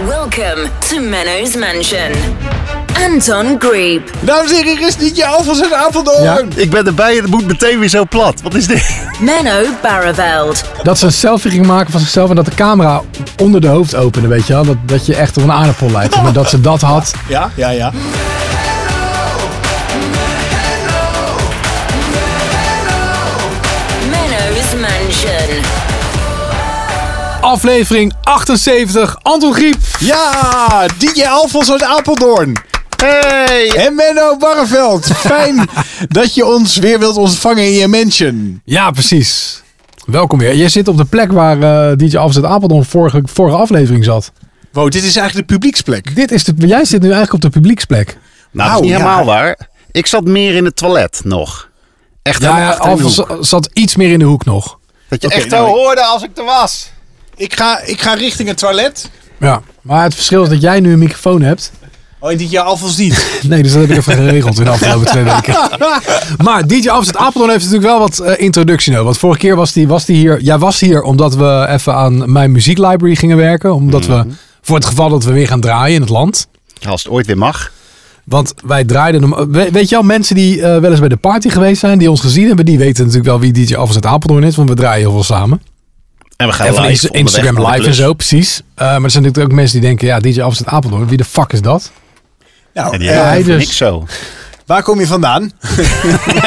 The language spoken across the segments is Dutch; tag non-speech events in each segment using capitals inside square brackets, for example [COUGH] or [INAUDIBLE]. Welcome to Menno's Mansion. Anton Grieb. Dames en heren, hier is Nietje Alvers en Aantal de Ja. Oren. Ik ben erbij en het moet meteen weer zo plat. Wat is dit? Menno Barreveld. Dat ze een selfie ging maken van zichzelf en dat de camera onder de hoofd opende, weet je wel. Dat, dat je echt op een aardappel lijkt. Maar dat ze dat had. Ja, ja, ja. Menno's Mansion. Aflevering 78, Anton Griep. Ja, DJ Alfons uit Apeldoorn. Hey! En Menno [LAUGHS] Barreveld. Fijn dat je ons weer wilt ontvangen in je mansion. Ja, precies. Welkom weer. Jij zit op de plek waar eh, DJ Afzet Apeldoorn vorige, vorige aflevering zat. Wow, dit is eigenlijk de publieksplek. Dit is de, jij zit nu eigenlijk op de publieksplek. Nou, dat is Au, niet ja. helemaal waar. Ik zat meer in het toilet nog. Echt Ja, helemaal ja achter in de Alfons hoek. zat iets meer in de hoek nog. Dat je Oké, echt nou, wel ik- hoorde als ik er was. Ik ga, ik ga richting het toilet. Ja. Maar het verschil is dat jij nu een microfoon hebt. Oh, en DJ Alfons niet. [LAUGHS] Nee, dus dat heb ik even geregeld in de afgelopen twee weken. Maar DJ Afzet Apeldoorn heeft natuurlijk wel wat eh, introductie nodig. Want vorige keer was die, was die hier. Jij was hier omdat we even aan mijn muzieklibrary gingen werken. Omdat Mhm. we voor het geval dat we weer gaan draaien in het land. Als het ooit weer mag. Want wij draaiden hem. eh, we- Weet je al, mensen die eh, wel eens bij de party geweest zijn, die ons gezien hebben, die weten natuurlijk wel wie DJ Afzet Apeldoorn is. Want we draaien heel veel samen. En we gaan En van live Insta- onderweg naar Instagram de live en klus. zo, precies. Eh, maar er zijn natuurlijk ook mensen die denken, ja, DJ Afzet Apeldoorn, wie de fuck is dat? Nou, En die eh, Ja, hij hebben dus. niks zo. waar kom je [LAUGHS] vandaan? [LAUGHS]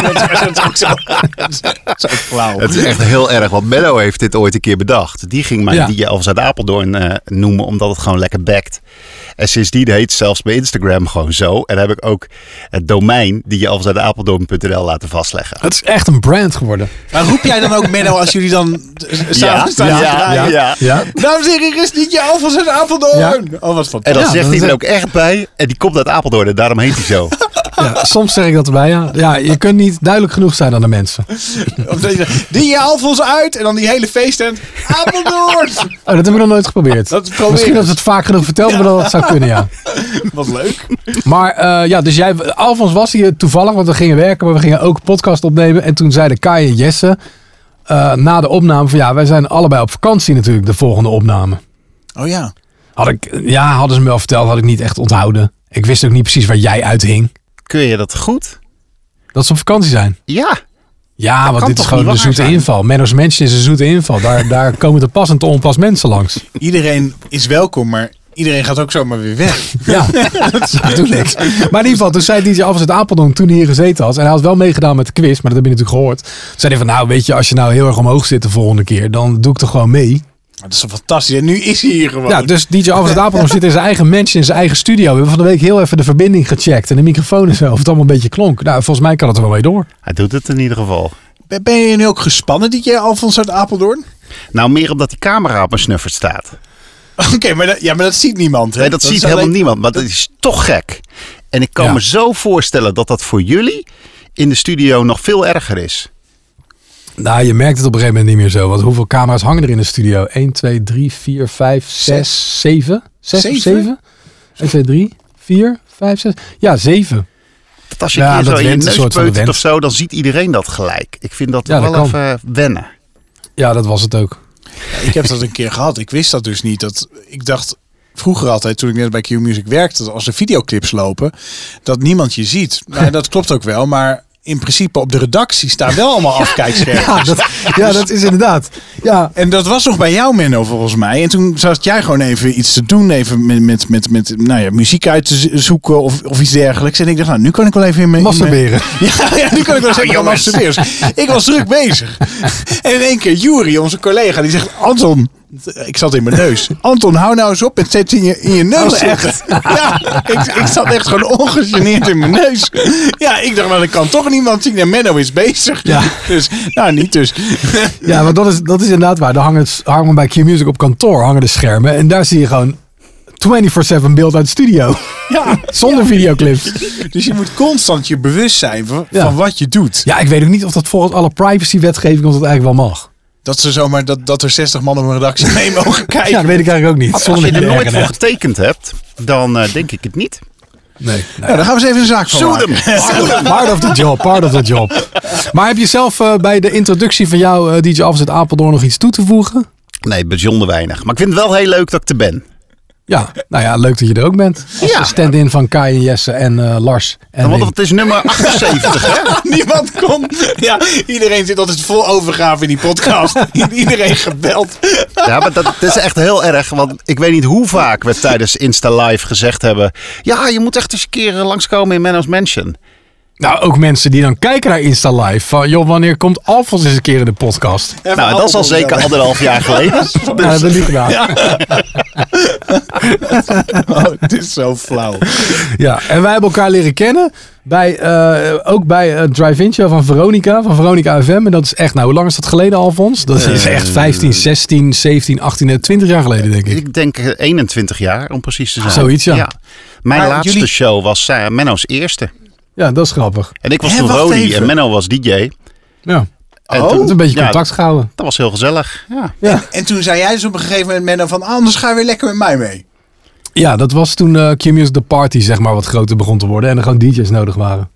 dat is ook zo, [LAUGHS] dat is ook flauw. Oh, Het is echt heel erg, want Mello heeft dit ooit een keer bedacht. Die ging mij Ja. DJ Alves uit Apeldoorn eh, noemen, omdat het gewoon lekker backt. En sindsdien heet het zelfs mijn Instagram gewoon zo. En heb ik ook het domein DJ Alves uit Apeldoorn.nl laten vastleggen. Het is echt een brand geworden. Maar roep jij dan ook Menno als jullie dan eh, samen staan te draaien? ja. Ja? Dames en heren, hier is Nietje Alfons uit Apeldoorn. Ja. Oh, wat En fantastisch. dan Ja, zegt dat hij is er het. ook echt bij. En die komt uit Apeldoorn en daarom heet hij [LAUGHS] zo. Ja, soms zeg ik dat erbij, ja. ja. Je kunt niet duidelijk genoeg zijn aan de mensen. Of dat je- Die Alfons uit en dan die hele feesttent. Apeldoorn! Oh, dat hebben we nog nooit geprobeerd. Dat proberen. Misschien dat we het vaak genoeg verteld hebben dat dat zou kunnen, ja. Wat leuk. Maar eh, ja, dus jij, Alfons was hier toevallig, want we gingen werken, maar we gingen ook een podcast opnemen. En toen zeiden Kai en Jesse eh, na de opname van ja, wij zijn allebei op vakantie natuurlijk, de volgende opname. Oh ja. Had ik, ja, hadden ze me wel verteld, had ik niet echt onthouden. Ik wist ook niet precies waar jij uithing. Kun je dat goed? Dat ze op vakantie zijn. Ja. Ja, want kan dit is toch gewoon niet een waar zoete zijn? inval. Menno's Mansion is een zoete inval. Daar, daar [LAUGHS] komen te pas en te onpas mensen langs. Iedereen is welkom, maar iedereen gaat ook zomaar weer weg. [LAUGHS] Ja, dat doet niks. Maar in ieder geval, toen zei DJ Alves uit Apeldoorn toen hij hier gezeten had. En hij had wel meegedaan met de quiz, maar dat heb je natuurlijk gehoord. Toen zei hij van, nou weet je, als je nou heel erg omhoog zit de volgende keer, dan doe ik toch gewoon mee. Dat is toch fantastisch. En nu is hij hier gewoon. Ja, dus DJ Alves uit Apeldoorn zit in zijn eigen mansion, in zijn eigen studio. We hebben van de week heel even de verbinding gecheckt en de microfoon en zo. Of het allemaal een beetje klonk. Nou, volgens mij kan het er wel mee door. Hij doet het in ieder geval. Ben- Ben je nu ook gespannen, DJ Alfons uit Apeldoorn? Nou, meer omdat die camera op mijn snuffert staat. Oké, maar, dat- ja, maar dat ziet niemand. Hè? Nee, dat, ziet is helemaal alleen- niemand. Maar dat is toch gek. En ik kan Ja. me zo voorstellen dat dat voor jullie in de studio nog veel erger is. Nou, je merkt het op een gegeven moment niet meer zo. Want hoeveel camera's hangen er in de studio? 1, 2, 3, 4, 5, 6, 7. 6 of Zeven? 7? 1, 2, 3, 4, 5, 6. Ja, 7. Dat als je Ja, een keer dat zo in je went, een neus soort van peutert wens. of zo, dan ziet iedereen dat gelijk. Ik vind dat Ja, wel dat kan. even wennen. Ja, dat was het ook. Ik heb dat een keer gehad. Ik wist dat dus niet. Dat, ik dacht vroeger altijd, toen ik net bij Q Music werkte, dat als er videoclips lopen, dat niemand je [LAUGHS] ziet. Nou, dat klopt ook wel, maar in principe op de redactie staan wel allemaal afkijkschermen. [LAUGHS] Ja, dat, ja, dat is inderdaad. Ja, En dat was nog bij jou, Menno, volgens mij. En toen zat jij gewoon even iets te doen. Even met, met, met, met nou ja, muziek uit te z- zoeken of, of iets dergelijks. En ik dacht, nou, nu kan ik wel even in mijn... in mijn- masturberen. [LAUGHS] Ja, ja, nu kan ik wel zeggen, jongens. masturberen. Ik was druk bezig. En in één keer, Juri, onze collega, die zegt... Anton, ik zat in mijn neus. Anton, hou nou eens op met zet in je, in je neus Oh, echt? zitten. Ja, ik, ik zat echt gewoon ongegeneerd in mijn neus. Ja, ik dacht, nou, dat kan toch niemand zien. En Menno is bezig. Ja. Dus, nou, niet dus. Ja, want dat is, dat is inderdaad waar. Daar hangen, het- hangen bij Q-Music op kantoor hangen de schermen. En daar zie je gewoon 24-7 beeld uit de studio. Ja, Zonder videoclips. Dus je moet constant je bewust zijn van, Ja. van wat je doet. Ja, ik weet ook niet of dat volgens alle privacywetgeving of dat eigenlijk wel mag. Dat ze zomaar dat, dat er 60 man op een redactie mee mogen kijken. Ja, dat weet ik eigenlijk ook niet. Als Zonder je dat er je nooit erger voor hebt. getekend hebt, dan eh, denk ik het niet. [LAUGHS] Nee. nee. Nou, daar gaan we eens even een zaak van Zoet maken. hem! Part of the job, part of the job. Maar heb je zelf eh, bij de introductie van jou, eh, DJ Afzet Apeldoorn, nog iets toe te voegen? Nee, bijzonder weinig. Maar ik vind het wel heel leuk dat ik er ben. Ja, nou ja, leuk dat je er ook bent. Als Ja. de stand-in van Kai en Jesse en eh, Lars. En Want Wim. het is [LAUGHS] nummer 78, hè? [LAUGHS] Niemand komt. Ja, iedereen zit altijd vol overgave in die [LAUGHS] podcast. Iedereen gebeld. Ja, maar dat, dat is echt heel erg. Want ik weet niet hoe vaak we tijdens Insta Live gezegd hebben... Ja, je moet echt eens een keer eh, langskomen in Menno's Mansion. Nou, ook mensen die dan kijken naar Insta Live. Van, joh, wanneer komt Alfons eens een keer in de podcast? nou, dat is al appelboom zeker bellen. anderhalf jaar [LAUGHS] geleden. Nou, dat heb ik niet [LAUGHS] gedaan. Ja. Oh, dit is zo flauw. En wij hebben elkaar leren kennen. Bij, eh, ook bij eh, Drive-In Show van Veronica. Van Veronica FM. En dat is echt, nou, hoe lang is dat geleden, Alfons? Dat is Eh, echt 15, 16, 17, 18, eh, 20 jaar geleden, denk ik. Ik denk eh, 21 jaar, om precies te zijn. Ah, Zoiets, ja. Mijn Maar laatste jullie- show was eh, Menno's eerste. Ja, dat is grappig. En ik was Hè, toen wacht Rodi even. en Menno was DJ. En Ja. Oh. Dat is een beetje ja, contact gehouden. Dat was heel gezellig. Ja. Ja. En toen zei jij dus op een gegeven moment, Menno, van anders ga je weer lekker met mij mee. ja, dat was toen eh Q-Music The Party, zeg maar, wat groter begon te worden. En er gewoon DJ's nodig waren.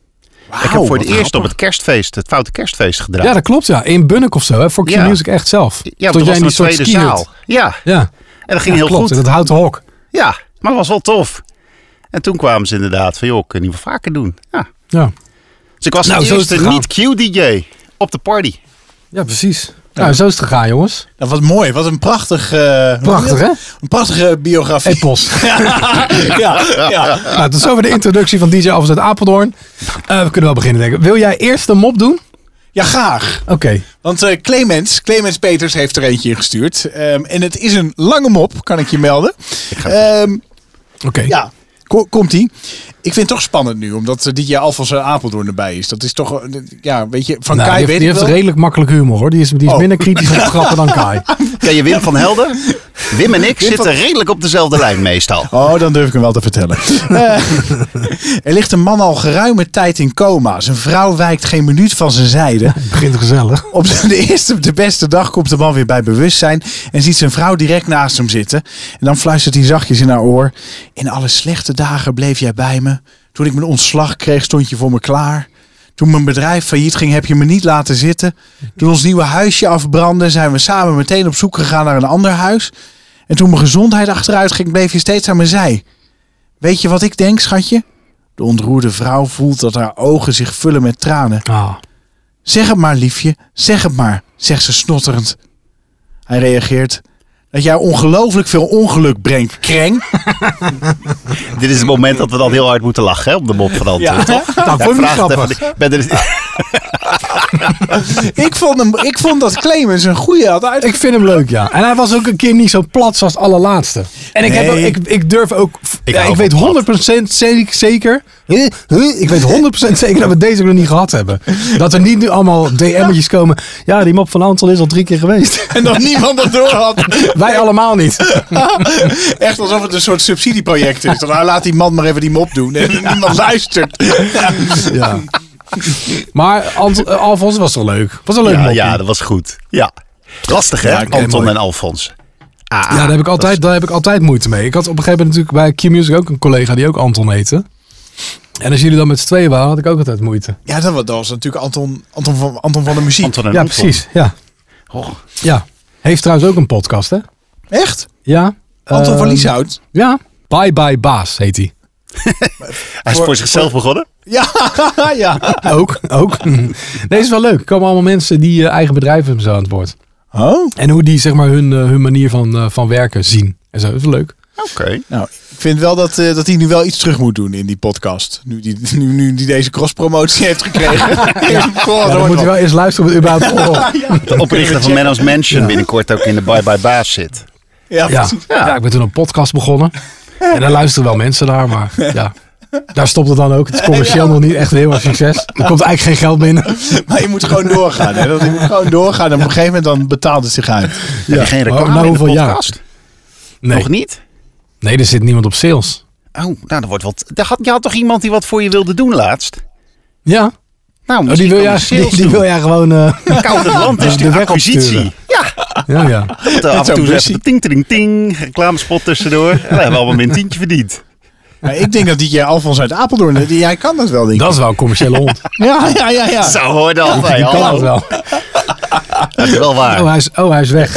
ik heb voor het eerst op het kerstfeest, het Foute Kerstfeest gedraaid. Ja, dat klopt, ja. In Bunnik of zo, hè, voor Ja. Q-Music echt zelf. Ja, Tot toen jij was in er die een soort tweede skiert. zaal. Ja, Ja. en dat ging Ja, heel klopt, goed. Dat houdt de hok. Ja, maar dat was wel tof. En toen kwamen ze inderdaad van, joh, kunnen we vaker doen? Ja. Ja, Dus ik was Nou, de zo is eerste het gegaan. niet-Q-DJ op de party. ja precies. Nou, zo is het gegaan, jongens. Nou, wat mooi, wat een prachtig... eh, Prachtig, hè? Een prachtige [LAUGHS] biografie. Epos. ja, ja. nou, tot zover de introductie van DJ Alves uit Apeldoorn. Eh, we kunnen wel beginnen, denk ik. Wil jij eerst een mop doen? ja, graag. Oké. Want eh, Clemens, Clemens Peters heeft er eentje ingestuurd. Ehm, en het is een lange mop, kan ik je melden. Ehm, Oké. ja, ko- komt ie. Ik vind het toch spannend nu, omdat eh, dit jaar Alfons eh, Apeldoorn erbij is. Dat is toch, eh, ja, weet je, van Nou, Kai weet die heeft, die ik heeft wel. redelijk makkelijk humor, hoor. Die is, die is Oh. minder kritisch op grappen dan Kai. Ken je Wim van Helden? Wim en ik zitten redelijk op dezelfde lijn meestal. Oh, dan durf ik hem wel te vertellen. [LAUGHS] Eh, er ligt een man al geruime tijd in coma. Zijn vrouw wijkt geen minuut van zijn zijde. Het [LAUGHS] begint gezellig. Op de eerste, de beste dag komt de man weer bij bewustzijn en ziet zijn vrouw direct naast hem zitten. En dan fluistert hij zachtjes in haar oor. In alle slechte dagen bleef jij bij me. Toen ik mijn ontslag kreeg, stond je voor me klaar. Toen mijn bedrijf failliet ging, heb je me niet laten zitten. Toen ons nieuwe huisje afbrandde, zijn we samen meteen op zoek gegaan naar een ander huis. En toen mijn gezondheid achteruit ging, bleef je steeds aan mijn zij. Weet je wat ik denk, schatje? De ontroerde vrouw voelt dat haar ogen zich vullen met tranen. Ah. Zeg het maar, liefje, zeg het maar, zegt ze snotterend. Hij reageert. Dat jij ongelooflijk veel ongeluk brengt, [LAUGHS] kreng. Dit is het moment dat we dan heel hard moeten lachen hè, op de mop van Anton. Ja. toch? Nou, Ja, vond ik niet vraag het grappig. even. Ik ben er- ik, vond hem, ik vond dat Clemens een goede had uit. Ik vind hem leuk, ja. En hij was ook een keer niet zo plat zoals het allerlaatste. En ik, heb Nee. ook, ik, ik durf ook... Ik Ik, hou ik weet van plat. 100% zeker... zeker Huh? Huh? ik weet 100% zeker dat we deze ook nog niet gehad hebben. Dat er niet nu allemaal DM'tjes komen. Ja, die mop van Anton is al drie keer geweest. [LAUGHS] En dat niemand dat door [LAUGHS] had. Wij allemaal niet. Echt alsof het een soort subsidieproject is. Dan, nou, laat die man maar even die mop doen. [LAUGHS] En niemand luistert. Ja. Maar Ant, eh, Alfons was wel leuk. Was wel leuk. ja, moppie. ja, dat was goed. Ja. Lastig hè, Ja, oké, Anton mooi. en Alfons. Ah, Ja, daar heb, ik dat altijd, daar heb ik altijd moeite mee. Ik had op een gegeven moment natuurlijk bij Q-Music ook een collega die ook Anton heette. En als jullie dan met z'n tweeën waren, had ik ook altijd moeite. Ja, dat was, dat was natuurlijk Anton, Anton, van, Anton van de is Muziek. Anton en Ja, Anton. precies. Ja. Oh, Ja. Heeft trouwens ook een podcast, hè? Echt? Ja. Anton van Ehm, Lieshout? Ja. Bye Bye Baas heet hij. Hij is voor, zichzelf begonnen. Ja, ja. Ook, ook. Nee, is wel leuk. Er komen allemaal mensen die eh, eigen bedrijven en zo aan het woord. Oh. En hoe die zeg maar hun, eh, hun manier van, eh, van werken zien. En zo, dat is wel leuk. Oké. Nou, ik vind wel dat, eh, dat hij nu wel iets terug moet doen in die podcast. Nu die, nu, nu die deze crosspromotie heeft [LAUGHS] gekregen. ja. Ja, dan moet je wel eerst luisteren of het überhaupt Oh. op. De oprichter van Menno's Mansion binnenkort ook in de Bye Bye Baas zit. Ja, Ja. precies. Ja. ik ben toen een podcast begonnen. En daar luisteren wel mensen naar, maar ja. Daar stopt het dan ook. Het is commercieel nog niet echt heel erg succes. Er komt eigenlijk geen geld binnen. Maar je moet gewoon doorgaan. Hè? Dat, je moet gewoon doorgaan. En op een gegeven moment dan betaalt het zich uit. Heb je geen reclame Maar na Oh, in de nou, hoeveel jaar? podcast? Nee, Nog niet? nee er zit niemand op sales. Oh, nou, dat wordt wat. daar had, je had toch iemand die wat voor je wilde doen laatst? Ja, oh, Nou, die, misschien wil kan jij, je sales die, die wil doen. jij gewoon... eh, Koude land is de de weg acquisitie. opsturen. Ja, ja, [LAUGHS] ja. dan moet er af en toe zo'n eens even ting, ting, ting, reclamespot tussendoor. En dan hebben we allemaal weer een tientje verdiend. Maar ik denk dat DJ Alfons uit Apeldoorn, die, jij kan [LAUGHS] dat wel, denk ik. Dat is wel een commerciële hond. Ja, ja, ja. ja. Zo hoor dan. Die hey, kan hallo. dat wel. Dat is wel waar. Oh, hij is, oh, hij is weg.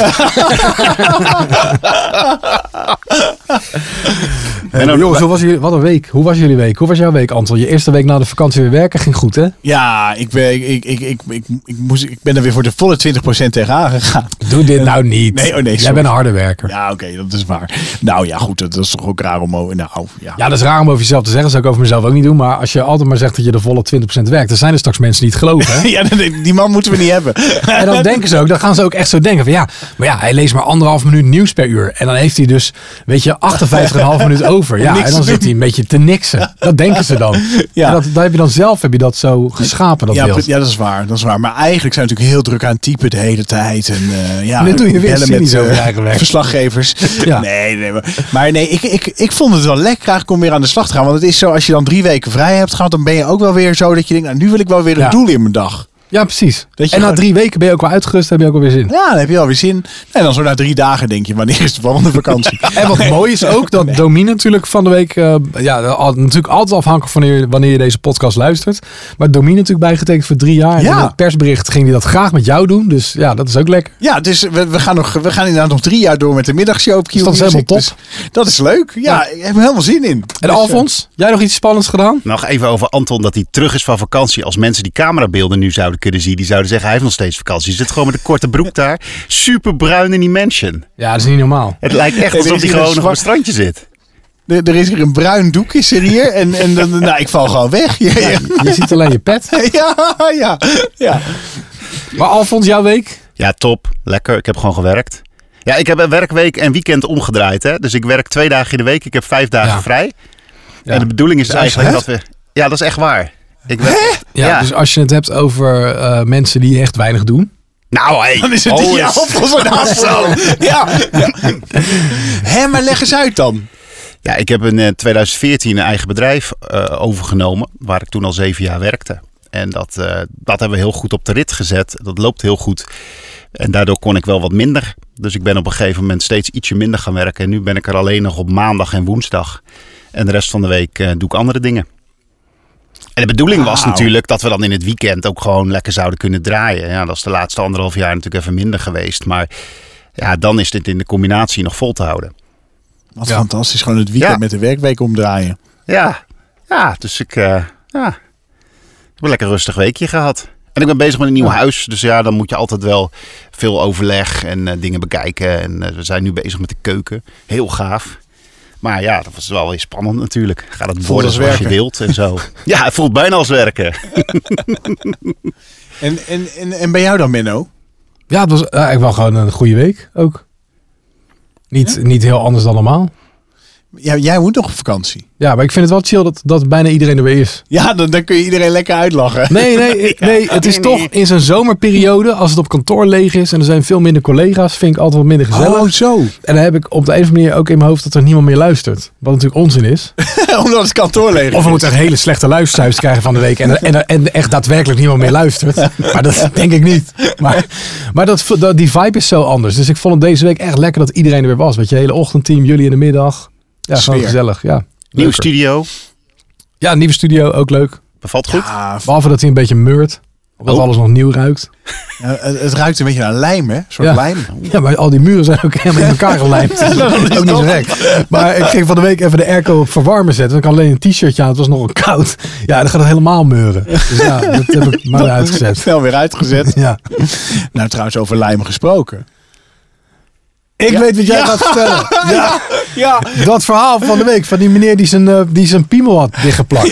En dan- nou, Jongens, hoe was jullie, wat een week. Hoe was jullie week? Hoe was jouw week, Anton? Je eerste week na de vakantie weer werken ging goed, hè? Ja, ik ben, ik, ik, ik, ik, ik, moest, ik ben er weer voor de volle 20% tegenaan gegaan. Doe dit nou niet. Nee, oh nee, Jij sorry. bent een harde werker. Ja. Ja, oké, dat is waar. Nou ja, goed, dat is toch ook raar om... o- Nou, ja. dat is raar om over jezelf te zeggen. Dat zou ik over mezelf ook niet doen. Maar als je altijd maar zegt dat je de volle 20% werkt, dan zijn er straks mensen die het geloven. Hè? [LAUGHS] Ja, die man moeten we niet hebben. En dan denken ze ook, dan gaan ze ook echt zo denken van ja, maar ja, hij leest maar anderhalf minuut nieuws per uur. En dan heeft hij dus, weet je, 58,5 minuut over. Ja, niks en dan te zit hij een beetje te niksen. Dat denken ze dan. Ja. Ja. dat, daar heb je dan zelf heb je dat zo geschapen, dat Ja, beeld. pre- ja, dat is waar. Dat is waar. Maar eigenlijk zijn we natuurlijk heel druk aan het typen de hele tijd. En eh, [LAUGHS] ja, Nu doe je weer bellen cynisch eh, over je eigen werk. [LAUGHS] verslaggevers. Ja. Nee, nee. Maar, maar nee, ik, ik, ik vond het wel lekker eigenlijk om weer aan de slag te gaan. Want het is zo, als je dan drie weken vrij hebt gehad, dan ben je ook wel weer zo dat je denkt, nou, nu wil ik wel weer een Ja. doel in mijn dag. Ja, precies. Dat je en na gewoon- drie weken ben je ook wel uitgerust, heb je ook wel weer zin. Ja, dan heb je wel weer zin. En dan zo na drie dagen denk je, wanneer is de volgende [LAUGHS] vakantie? En wat mooi is ook dat Domine natuurlijk van de week, eh, ja, al- natuurlijk altijd afhankelijk van wanneer, wanneer je deze podcast luistert. Maar Domine natuurlijk bijgetekend voor drie jaar. En Ja. in het persbericht ging hij dat graag met jou doen. Dus ja, dat is ook lekker. Ja, dus we, we, gaan nog, we gaan inderdaad nog drie jaar door met de middagshow op Q dat is Music. helemaal top. Dus dat is leuk. Ja, ik heb er helemaal zin in. En Dus, eh, Alfons, jij nog iets spannends gedaan? Nog even over Anton dat hij terug is van vakantie. Als mensen die camerabeelden nu zouden kunnen zien, die zouden zeggen hij heeft nog steeds vakantie. Hij zit gewoon met een korte broek daar. Super bruin in die mansion. Ja, dat is niet [LAUGHS] normaal. Het lijkt echt Nee, alsof er hij is hier gewoon een nog op het zwart- strandje zit. Er, er is hier een bruin doek is er hier. En, en [LAUGHS] dan, nou, ik val gewoon weg. [LAUGHS] Ja, ja. Je ziet alleen je pet. Ja, ja, ja. Maar Alfons, jouw week? Ja, top. Lekker. Ik heb gewoon gewerkt. Ja, ik heb een werkweek en weekend omgedraaid. Hè? Dus ik werk twee dagen in de week. Ik heb vijf dagen Ja. vrij. Ja. En de bedoeling is Dat is eigenlijk echt- dat we... Ja, dat is echt waar. Ik werk... Ja, Dus als je het hebt over eh, mensen die echt weinig doen. Nou, hey. Dan Oh, is het alles. die appels en [LAUGHS] appels. Ja. Hé, maar leg eens uit dan. Ja, ik heb in eh, 2014 een eigen bedrijf eh, overgenomen, waar ik toen al zeven jaar werkte. En dat, eh, dat hebben we heel goed op de rit gezet. Dat loopt heel goed. En daardoor kon ik wel wat minder. Dus ik ben op een gegeven moment steeds ietsje minder gaan werken. En nu ben ik er alleen nog op maandag en woensdag. En de rest van de week eh, doe ik andere dingen. En de bedoeling was Wauw. natuurlijk dat we dan in het weekend ook gewoon lekker zouden kunnen draaien. Ja, dat is de laatste anderhalf jaar natuurlijk even minder geweest. Maar ja, dan is dit in de combinatie nog vol te houden. Wat Ja. fantastisch. Gewoon het weekend Ja. met de werkweek omdraaien. Ja, ja dus ik, eh, ja. ik heb een lekker rustig weekje gehad. En ik ben bezig met een nieuw huis. Dus ja, dan moet je altijd wel veel overleg en eh, dingen bekijken. En eh, we zijn nu bezig met de keuken. Heel gaaf. Maar ja, dat was wel weer spannend natuurlijk. Gaat het worden als zoals je werken. wilt en zo. ja, het voelt bijna als werken. En, en, en, en bij jou dan, Menno? Ja, het was eh, eigenlijk wel gewoon een goede week ook. Niet, niet heel anders dan normaal. Ja, jij moet nog op vakantie. Ja, maar ik vind het wel chill dat, dat bijna iedereen er weer is. Ja, dan, dan kun je iedereen lekker uitlachen. Nee, [LAUGHS] nee, nee. Het is toch in zo'n zomerperiode, als het op kantoor leeg is en er zijn veel minder collega's, vind ik altijd wat minder gezellig. [LAUGHS] Oh, zo. En dan heb ik op de een of andere manier ook in mijn hoofd dat er niemand meer luistert. Wat natuurlijk onzin is. [LAUGHS] Omdat het kantoor leeg is. Of we moeten echt hele slechte luistercijfers krijgen van de week en, en, en echt daadwerkelijk niemand meer luistert. Maar dat [LAUGHS] denk ik niet. Maar, maar dat, dat- die vibe is zo anders. Dus ik vond het deze week echt lekker dat iedereen er weer was. Weet je, hele ochtendteam, jullie in de middag. Ja, gewoon Sfeer. gezellig. Ja, Nieuw Leuker. studio. Ja, nieuwe studio, ook leuk. Bevalt goed. Ah, Behalve dat hij een beetje meurt. Omdat Oh. alles nog nieuw ruikt. Ja, het, het ruikt een beetje naar lijm, hè? Een soort Ja. lijm. [LAUGHS] Ja, maar al die muren zijn ook helemaal in elkaar [LAUGHS] gelijmd. Dat is ook niet zo gek. Maar ik ging van de week even de airco op verwarmen zetten. Ik had alleen een t-shirtje aan, het was nogal koud. Ja, dan gaat het helemaal meuren. Dus ja, dat heb ik maar uitgezet. Snel weer uitgezet. Ja. Nou, trouwens, over lijm gesproken. Ik weet wat jij gaat vertellen. Ja. Dat verhaal van de week van die meneer die zijn, eh, die zijn piemel had dichtgeplakt.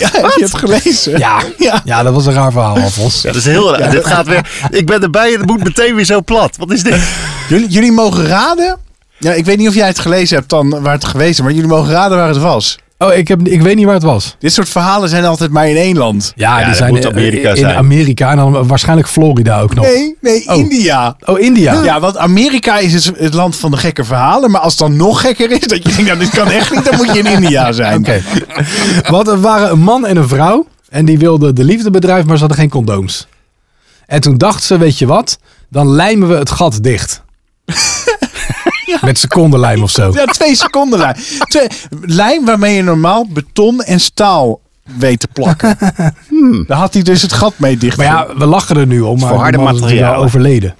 [LAUGHS] Ja, Ja. heb je het gelezen? Ja. Ja. dat was een raar verhaal, Alfons. Ja, dat is heel raar. Dit gaat weer. Ik ben erbij en het moet meteen weer zo plat. Wat is dit? Jullie, jullie mogen raden. Ja, ik weet niet of jij het gelezen hebt dan waar het geweest is, maar jullie mogen raden waar het was. Oh, ik, heb, ik weet niet waar het was. Dit soort verhalen zijn altijd maar in één land. Ja, Ja, die dat zijn moet in- Amerika in, zijn. Amerika en dan waarschijnlijk Florida ook nog. Nee, nee, Oh. India. Oh, India. Ja, want Amerika is het, het land van de gekke verhalen. Maar als het dan nog gekker is, dat je denkt, nou, dit kan echt niet, dan moet [LAUGHS] je in India zijn. Oké. Want er waren een man en een vrouw. En die wilden de liefde bedrijven, maar ze hadden geen condooms. En toen dachten ze, weet je wat? Dan lijmen we het gat dicht. Met secondenlijm of zo. Ja, twee seconden lijn. Twee, lijn waarmee je normaal beton en staal weet te [LAUGHS] plakken. Daar had hij dus het gat mee dicht. Maar ja, we lachen er nu om. Maar voor die harde man is natuurlijk materialen. wel overleden.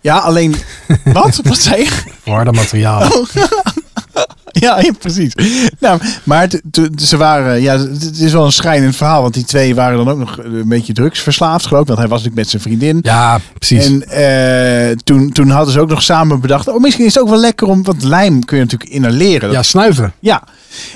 Ja, alleen. [LAUGHS] Wat? Wat zei je? Harde materialen. [LAUGHS] Ja, ja, precies. Nou, maar het- het- ze waren, ja, het is wel een schrijnend verhaal. Want die twee waren dan ook nog eh, een beetje drugsverslaafd, geloof ik. Want hij was natuurlijk met zijn vriendin. Ja, precies. En eh, toen, toen hadden ze ook nog samen bedacht. Oh, misschien is het ook wel lekker om. Want lijm kun je natuurlijk inhaleren. Dat- ja, snuiven. ja.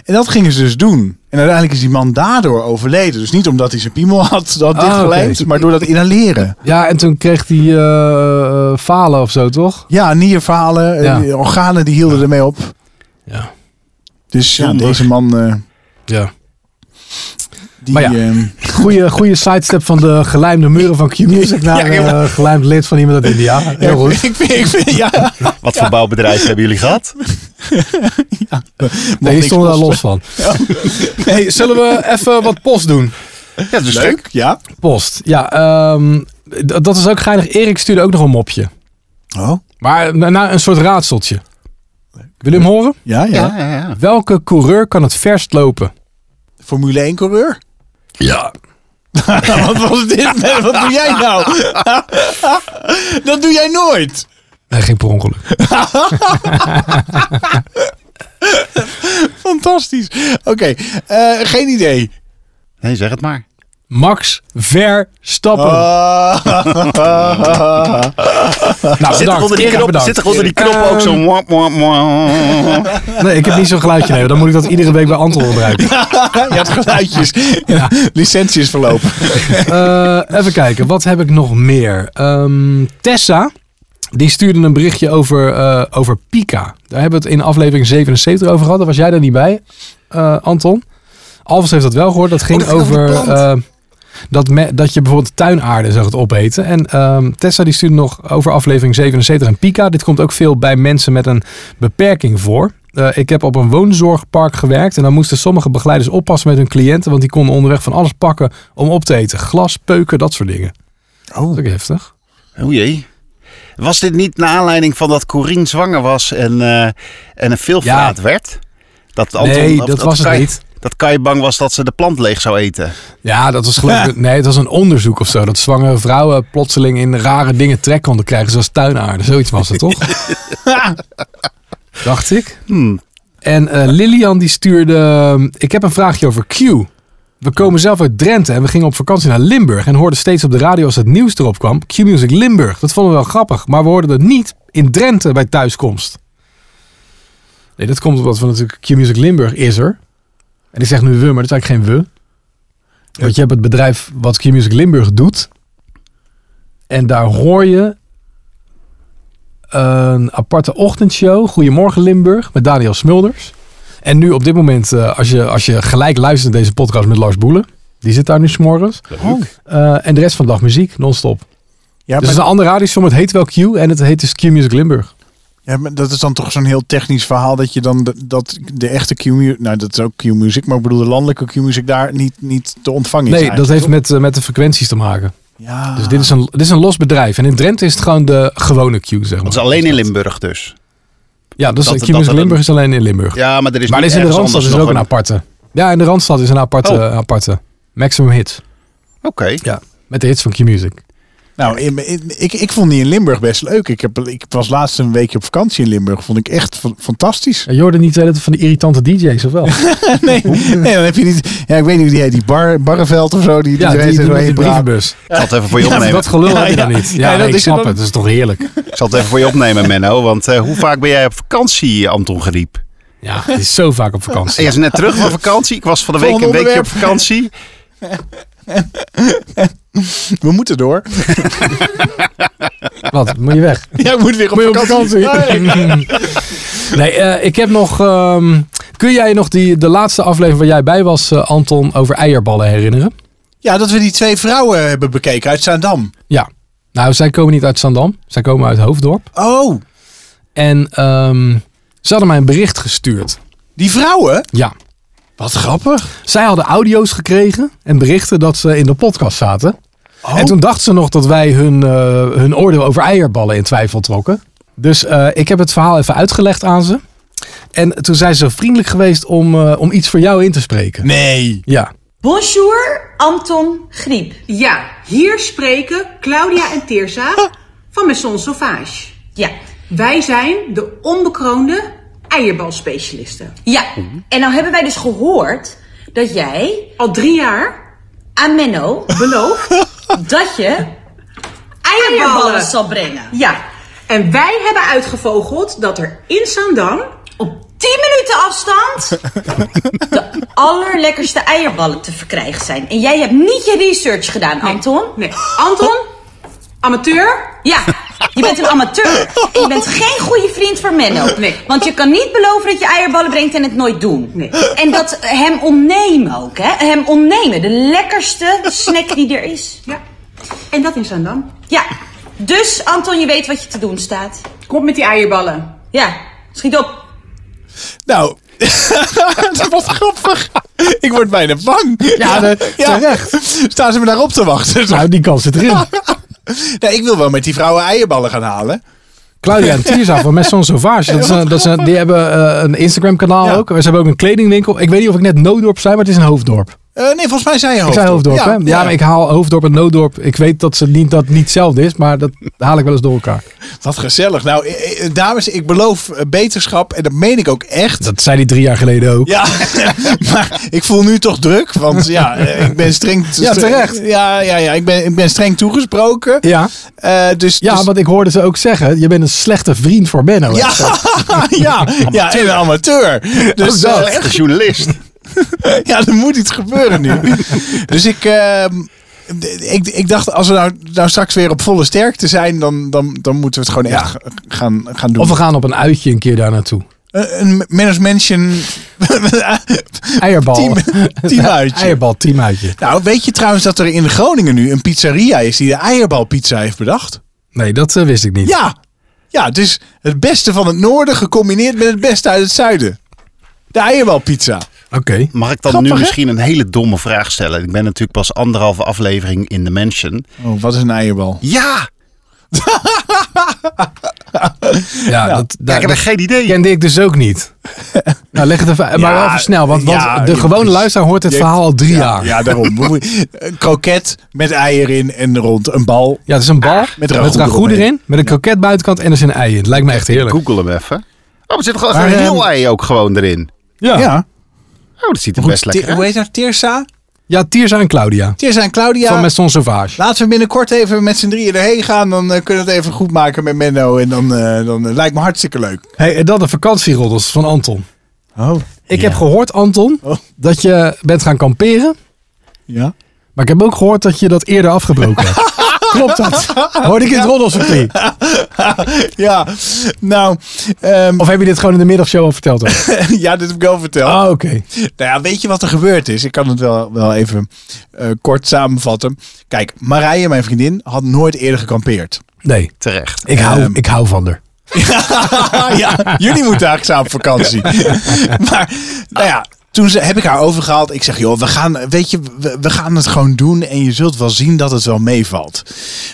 En dat gingen ze dus doen. En uiteindelijk is die man daardoor overleden. Dus niet omdat hij zijn piemel [LAUGHS] had dat Ah, dichtgelijmd, oké. maar door dat inhaleren. Ja, en toen kreeg hij eh, falen of zo, toch? Ja, nierverhalen, eh, Ja. die organen die hielden ermee op. Ja. Dus ja, Zonde. deze man, eh, ja. die, Maar ja. ehm, Goeie, goeie sidestep van de gelijmde muren van Q-Music naar Ja, een gelijmd lid van iemand uit India. Heel goed. [LAUGHS] ik vind, ik vind, ja. Wat voor bouwbedrijf hebben jullie gehad? Nee, die niks stonden daar kosten. los van. [LAUGHS] Hey, zullen we even wat post doen? Ja, dus Leuk, ja. Post. Ja, ehm, d- dat is ook geinig. Erik stuurde ook nog een mopje. Oh, Maar na- na een soort raadseltje. Wil je hem horen? ja, ja. Ja, ja, ja. Welke coureur kan het verst lopen? Formule 1 coureur. [LAUGHS] Nou, Ja. Wat was [LAUGHS] dit? man? Wat doe jij nou? [LAUGHS] dat doe jij nooit. Nee, ging per ongeluk. Fantastisch. Oké, eh, geen idee. Nee, zeg het maar. Max Verstappen. Oh. Ah. nou, Zit er bedankt. onder die Erik, knop, bedankt. zit er onder die knop Erik, ook ehm, zo'n... wah, wah, wah. Nee, ik heb niet zo'n geluidje. Nee, dan moet ik dat iedere week bij Anton gebruiken. [LAUGHS] Eh, [LAUGHS] je had geluidjes. Ja. [LAUGHS] Licentie is verlopen. Eh, even kijken, wat heb ik nog meer? Ehm, Tessa, die stuurde een berichtje over, eh, over Pika. Daar hebben we het in aflevering 77 over gehad. Daar was jij daar niet bij, eh, Anton. Alvast heeft dat wel gehoord. Dat ging Oh, dat ging over over die eh, dat, me- dat je bijvoorbeeld tuinaarde zou het opeten. En ehm, Tessa die stuurde nog over aflevering 77 en Pika. Dit komt ook veel bij mensen met een beperking voor. Eh, ik heb op een woonzorgpark gewerkt en dan moesten sommige begeleiders oppassen met hun cliënten, want die konden onderweg van alles pakken om op te eten. Glas, peuken, dat soort dingen. Dat Oh. is ook heftig. O jee. Was dit niet naar aanleiding van dat Corine zwanger was en, eh, en een veelvraat werd? Dat Anton, nee, of dat was het Kai- niet. Dat Kai bang was dat ze de plant leeg zou eten. Ja, dat was geloof ik. Nee, het was een onderzoek of zo. Dat zwangere vrouwen plotseling in rare dingen trek konden krijgen, zoals tuinaarden. Zoiets was het toch? Dacht ik. Hmm. En eh, Lilian die stuurde. ehm, Ik heb een vraagje over Q. We komen zelf uit Drenthe en we gingen op vakantie naar Limburg. En hoorden steeds op de radio als het nieuws erop kwam. Q Music Limburg. Dat vonden we wel grappig. Maar we hoorden het niet in Drenthe bij thuiskomst. Nee, dat komt omdat we natuurlijk. Q Music Limburg is er. En ik zeg nu we, maar dat is eigenlijk geen we. Want je hebt het bedrijf wat Q Music Limburg doet. En daar hoor je een aparte ochtendshow. Goedemorgen Limburg met Daniel Smulders. En nu op dit moment, eh, als, je, als je gelijk luistert naar deze podcast met Lars Boelen. Die zit daar nu s'morgens. Oh. Eh, en de rest van de dag muziek, non-stop. Ja, dus het maar, is een andere radioshow, maar het heet wel Q. En het heet dus Q Music Limburg. ja, maar dat is dan toch zo'n heel technisch verhaal dat je dan de, dat de echte Q-music, nou dat is ook Q-music, maar ik bedoel de landelijke Q-music daar niet, niet te ontvangen is. Nee, dat heeft eigenlijk, met, eh, met de frequenties te maken. toch? Ja. Dus dit is, een, dit is een los bedrijf. En in Drenthe is het gewoon de gewone Q, zeg maar. Dat is alleen in Limburg dus. Ja, dus dat- Q dat Music er een- Limburg is alleen in Limburg. Ja, maar er is maar er niet is in de ergens Randstad is anders er ook nog een aparte. Ja, in de Randstad is een aparte. Oh. aparte. Maximum Hits. Oké. Ja, met de hits van Q-Music. Nou, in- in- ik, ik vond die in Limburg best leuk. Ik, heb, ik was laatst een weekje op vakantie in Limburg. Vond ik echt fa- fantastisch. Ja, je hoorde niet dat van die irritante DJ's [LAUGHS] of wel? Nee, [LAUGHS] nee, dan heb je niet. Ja, ik weet niet hoe die heet, die bar, Barreveld of zo. Die, die ja, iedereen die er doen met doorheen die praat. brievenbus. Ik zal het even voor je opnemen. dat gelul heb je Ja, dan ja. niet. Ja, [LAUGHS] Ja, nee, dat ik is snap het het. dan. Dat is toch heerlijk? Ik zal het even voor je opnemen, Menno. Want eh, hoe vaak ben jij op vakantie, eh, Anton Geriep? Ja, het is zo vaak op [LAUGHS] vakantie. Ik was net terug van vakantie. Ik was van de week Volgende een weekje op onderwerp. vakantie. We moeten door. Wat, moet je [LAUGHS] weg? Ja, ik [LAUGHS] moet weer op vakantie. Nee. [LAUGHS] Nee, eh, ik heb nog... ehm, kun jij je nog die, de laatste aflevering waar jij bij was, eh, Anton, over eierballen herinneren? Ja, dat we die twee vrouwen hebben bekeken uit Zaandam. Ja. Nou, zij komen niet uit Zandam. Zij komen uit Hoofddorp. Oh, En ehm, ze hadden mij een bericht gestuurd. die vrouwen? Ja. Wat grappig. Zij hadden audio's gekregen en berichten dat ze in de podcast zaten. En toen dachten ze nog dat wij hun, eh, hun oordeel over eierballen in twijfel trokken. Dus eh, ik heb het verhaal even uitgelegd aan ze. En toen zijn ze vriendelijk geweest om, eh, om iets voor jou in te spreken. Nee. Ja. Bonjour, Anton Griep. Ja, hier spreken Claudia en Tirza van Maison Sauvage. Ja. Wij zijn de onbekroonde eierbalspecialisten. Ja. En nou hebben wij dus gehoord dat jij Al drie jaar aan Menno beloofd. dat je eierballen eierballen. zal brengen. Ja. En wij hebben uitgevogeld dat er in Zaandam... Op 10 minuten afstand de allerlekkerste eierballen te verkrijgen zijn. En jij hebt niet je research gedaan, Anton. Nee, Anton, amateur, Ja, je bent een amateur. En je bent geen goede vriend voor Menno. Nee. Want je kan niet beloven dat je eierballen brengt en het nooit doen. Nee. En dat hem ontnemen ook, hè? Hem ontnemen. De lekkerste snack die er is. Ja, en dat in Zaandam. Ja, dus Anton, je weet wat je te doen staat. Kom op met die eierballen. Ja, schiet op. Nou, [LAUGHS] dat was grappig. Ik word bijna bang. Ja, de- terecht. Staan ze me daarop te wachten? Nou, die kans zit erin. Nee, ik wil wel met die vrouwen eierballen gaan halen. Claudia en Tirza van Maison Sauvage. Dat is een- dat is een- die hebben eh, een Instagram-kanaal Ja. ook. Ze hebben ook een kledingwinkel. Ik weet niet of ik net Noodorp zei, maar het is een hoofddorp. Eh, nee, volgens mij zei je Ik hoofddorp. zei hoofddorp, hè? Ja, maar ik haal hoofddorp en nooddorp. Ik weet dat, ze niet, dat het niet hetzelfde is, maar dat haal ik wel eens door elkaar. Wat gezellig. Nou, eh, eh, dames, ik beloof eh, beterschap. En dat meen ik ook echt. Dat zei die drie jaar geleden ook. Ja, [LAUGHS] maar ik voel nu toch druk, want ja, eh, ik ben streng. [LAUGHS] Ja, terecht. Ja, ja, ja ik, ben, ik ben streng toegesproken. Ja. Eh, dus, Ja, dus- want ik hoorde ze ook zeggen, je bent een slechte vriend voor Benno. ja, [LAUGHS] ja, ja, en een amateur. Dus Oh, dat. eh, Echte journalist. [LAUGHS] ja, er moet iets gebeuren [LAUGHS] nu. dus ik, ehm, d- ik, ik dacht, als we nou, nou straks weer op volle sterkte zijn, dan, dan, dan moeten we het gewoon echt gaan, gaan doen. Of we gaan op een uitje een keer daar naartoe. Eh, Een- een management mansion Eierbal. team, teamuitje. Eierbal, teamuitje. Nou, weet je trouwens dat er in Groningen nu een pizzeria is die de eierbalpizza heeft bedacht? Nee, dat eh, wist ik niet. Ja. Ja, dus het beste van het noorden gecombineerd met het beste uit het zuiden. De eierbalpizza. Oké. Mag ik dan Grappig, nu hè? misschien een hele domme vraag stellen? Ik ben natuurlijk pas anderhalve aflevering in de Mansion. Oh, wat is een eierbal? Ja, Ja, dat, ja daar, ik heb echt geen idee. kende ik dus ook [LAUGHS] niet. nou, leg het even, maar wel even snel, want, want ja, de je- gewone luisteraar hoort het je- verhaal al drie jaar. Ja. Ja, [LAUGHS] daarom. We moeten- Een kroket met eier in en rond een bal. het is een bal met ragout ragout eromheen. erin, met een kroket buitenkant en er is een ei in. Het lijkt me echt heerlijk. Google hem even. Oh, er zit gewoon Maar, echt een heel ehm, ei ook gewoon erin. Ja. ja. Ja. Oh, dat ziet er Goed, best lekker Ti- hoe uit. heet haar? Tirsa? Tirza en Claudia Tirsa en Claudia. van Maison Sauvage. Laten we binnenkort even met z'n drieën erheen gaan. Dan eh, kunnen we het even goed maken met Menno. En dan, eh, dan eh, lijkt me hartstikke leuk. Hey, en dan de vakantieroddels van Anton. Oh. Ik heb gehoord, Anton, Oh. dat je bent gaan kamperen. Ja. Maar ik heb ook gehoord dat je dat eerder afgebroken hebt. Klopt dat? Hoorde ik in het roddelcircuit? Ja, nou, ehm, [LAUGHS] Of heb je dit gewoon in de middagshow al verteld? ook? ja, dit heb ik al verteld. Ah, oké. Nou ja, weet je wat er gebeurd is? Ik kan het wel, wel even eh, kort samenvatten. Kijk, Marije, mijn vriendin, had nooit eerder gekampeerd. Nee, Terecht. ik hou, Ehm. ik hou van haar. [LAUGHS] ja, jullie moeten eigenlijk samen op vakantie. [LAUGHS] maar, nou ja, toen ze, heb ik haar overgehaald. Ik zeg, joh, we gaan, weet je, we, we gaan het gewoon doen. En je zult wel zien dat het wel meevalt.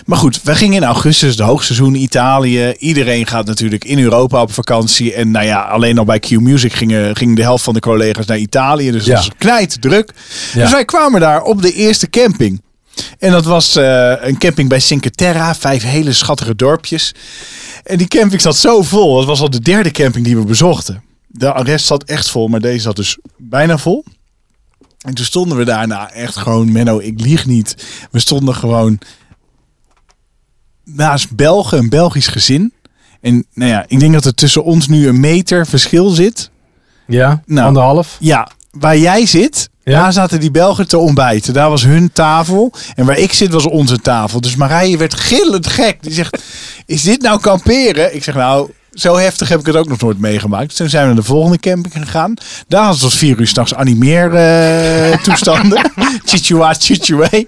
Maar goed, we gingen in augustus, de hoogseizoen Italië. Iedereen gaat natuurlijk in Europa op vakantie. En nou ja, alleen al bij Q Music gingen, ging de helft van de collega's naar Italië. Dus Ja. dat was knijt druk. Ja. Dus wij kwamen daar op de eerste camping. En dat was eh, een camping bij Cinque Terra. Vijf hele schattige dorpjes. En die camping zat zo vol. Dat was al de derde camping die we bezochten. De rest zat echt vol, maar deze zat dus bijna vol. En toen stonden we daarna echt gewoon, Menno, ik lieg niet. We stonden gewoon naast Belgen, een Belgisch gezin. En nou ja, ik denk dat er tussen ons nu een meter verschil zit. Ja, Nou. anderhalf. Ja, waar jij zit, Ja. daar zaten die Belgen te ontbijten. Daar was hun tafel. En waar ik zit was onze tafel. Dus Marije werd gillend gek. Die zegt, is dit nou kamperen? Ik zeg, nou, zo heftig heb ik het ook nog nooit meegemaakt. Toen zijn we naar de volgende camping gegaan. Daar hadden ze tot vier uur s'nachts animeer eh, toestanden. Chichua, chichue.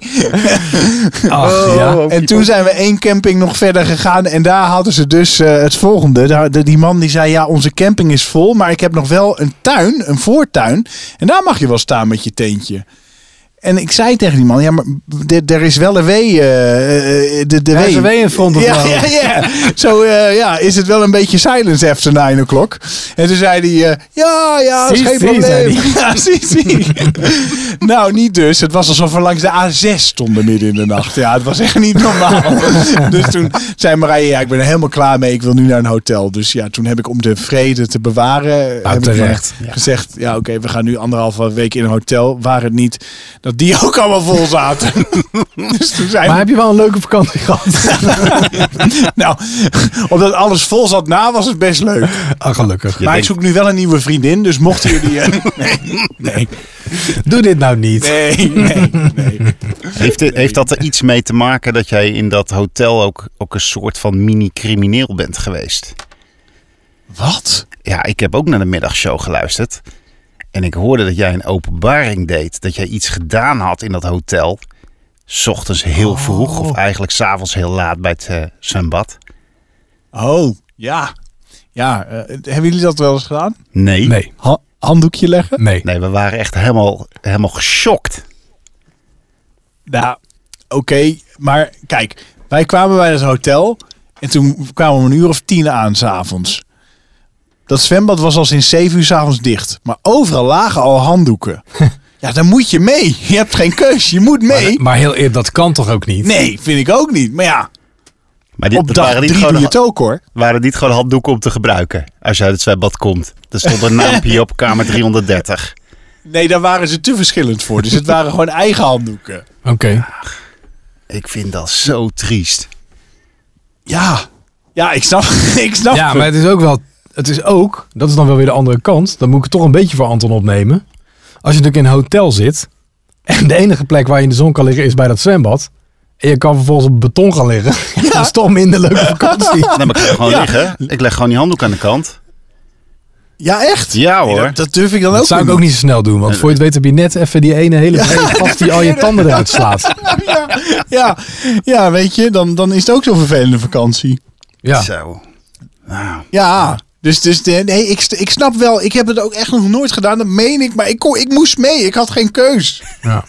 Ach, ja. En toen zijn we één camping nog verder gegaan. En daar hadden ze dus eh, het volgende. Daar, de- die man die zei, ja, onze camping is vol. Maar ik heb nog wel een tuin, een voortuin. En daar mag je wel staan met je tentje. En ik zei tegen die man, ja, maar d- er is wel een W. eh, eh, de, de Er is een W in front of ja, nou? ja, ja. Zo eh, ja, is het wel een beetje silence after 9 o'clock. En toen zei hij, eh, ja, ja, is Zie, geen zie, probleem. zei [LAUGHS] Ja, zie, zie. nou, niet dus. Het was alsof we langs de A6 stonden midden in de nacht. Ja, het was echt niet normaal. dus toen zei Marije, ja, ik ben er helemaal klaar mee. Ik wil nu naar een hotel. Dus ja, toen heb ik om de vrede te bewaren... Nou, heb ik terecht. maar gezegd, ja, oké, we gaan nu anderhalve week in een hotel. Waar het niet dat die [LAUGHS] ook allemaal vol zaten. [LAUGHS] dus toen zijn Maar we heb je wel een leuke vakantie gehad? nou, omdat alles vol zat na, was het best leuk. Ah, gelukkig. maar denkt- ik zoek nu wel een nieuwe vriendin, dus mochten jullie... eh, nee, Doe dit nou niet. nee, nee, nee. Heeft, dit- heeft dat er iets mee te maken dat jij in dat hotel ook, ook een soort van mini-crimineel bent geweest? Wat? Ja, ik heb ook naar de middagshow geluisterd. En ik hoorde dat jij een openbaring deed. Dat jij iets gedaan had in dat hotel. 's ochtends heel Oh. vroeg, of eigenlijk s'avonds heel laat bij het eh, zwembad. Oh, ja. Ja, eh, hebben jullie dat wel eens gedaan? Nee. Nee. Ha- handdoekje leggen? Nee. Nee, we waren echt helemaal, helemaal geschokt. Nou, oké. maar kijk, wij kwamen bij het hotel en toen kwamen we om een uur of tien aan s'avonds. Dat zwembad was al sinds zeven uur s'avonds dicht. Maar overal lagen al handdoeken. ja, dan moet je mee. Je hebt geen keus. Je moet mee. Maar heel eerlijk, dat kan toch ook niet? Nee, vind ik ook niet. Maar ja, Maar dit, op dat dag waren, niet drie doe gewoon, je het ook hoor. waren niet gewoon handdoeken om te gebruiken. Als je uit het zwembad komt. Er stond een naampje op kamer 330. Nee, daar waren ze te verschillend voor. Dus het waren gewoon eigen handdoeken. Oké. Ik vind dat zo triest. Ja, ja ik snap, [LAUGHS] ik snap Ja, het. maar het is ook wel. Het is ook. Dat is dan wel weer de andere kant. Dan moet ik het toch een beetje voor Anton opnemen. Als je natuurlijk in een hotel zit. En de enige plek waar je in de zon kan liggen is bij dat zwembad. En je kan vervolgens op beton gaan liggen. [LAUGHS] Dat is toch minder leuke vakantie. Dan mag ik ga gewoon liggen. Ik leg gewoon die handdoek aan de kant. Ja, echt? Ja, Nee, hoor. dat, dat durf ik dan Dat ook zou ik ook niet zo snel doen. Want voor je het weet heb je net even die ene hele brede gast die al je tanden eruit slaat. ja, ja, ja, weet je, dan, dan is het ook zo'n vervelende vakantie. Ja. Zo. Nou. Ja, dus, dus de- nee, ik, ik snap wel, ik heb het ook echt nog nooit gedaan, dat meen ik. Maar ik, kon, ik moest mee, ik had geen keus. Ja.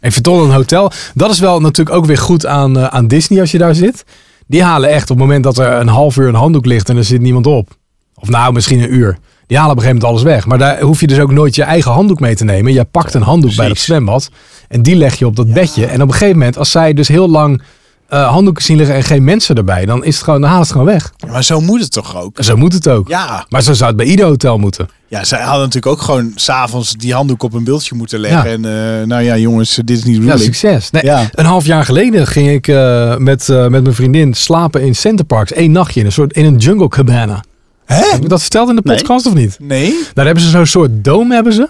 En verdomme een hotel. Dat is wel natuurlijk ook weer goed aan, eh, aan Disney als je daar zit. Die halen echt op het moment dat er een half uur een handdoek ligt en er zit niemand op. Of nou, misschien een uur. Die halen op een gegeven moment alles weg. Maar daar hoef je dus ook nooit je eigen handdoek mee te nemen. Je pakt een handdoek bij dat precies. zwembad. En die leg je op dat bedje. En op een gegeven moment, als zij dus heel lang eh, handdoeken zien liggen en geen mensen erbij. Dan, is het gewoon, dan halen ze het gewoon weg. Maar zo moet het toch ook? En zo moet het ook. Ja. Maar zo zou het bij ieder hotel moeten. Ja, zij hadden natuurlijk ook gewoon s'avonds die handdoek op een beeldje moeten leggen. Ja. En eh, nou ja, jongens, dit is niet de Ja, bedoeling. succes. Nee, Ja. Een half jaar geleden ging ik eh, met, eh, met mijn vriendin slapen in Center Parks. Eén nachtje in een soort in een jungle cabana. Hè? Heb ik dat verteld in de Nee. podcast of niet? Nee? Daar hebben ze zo'n soort dome hebben ze.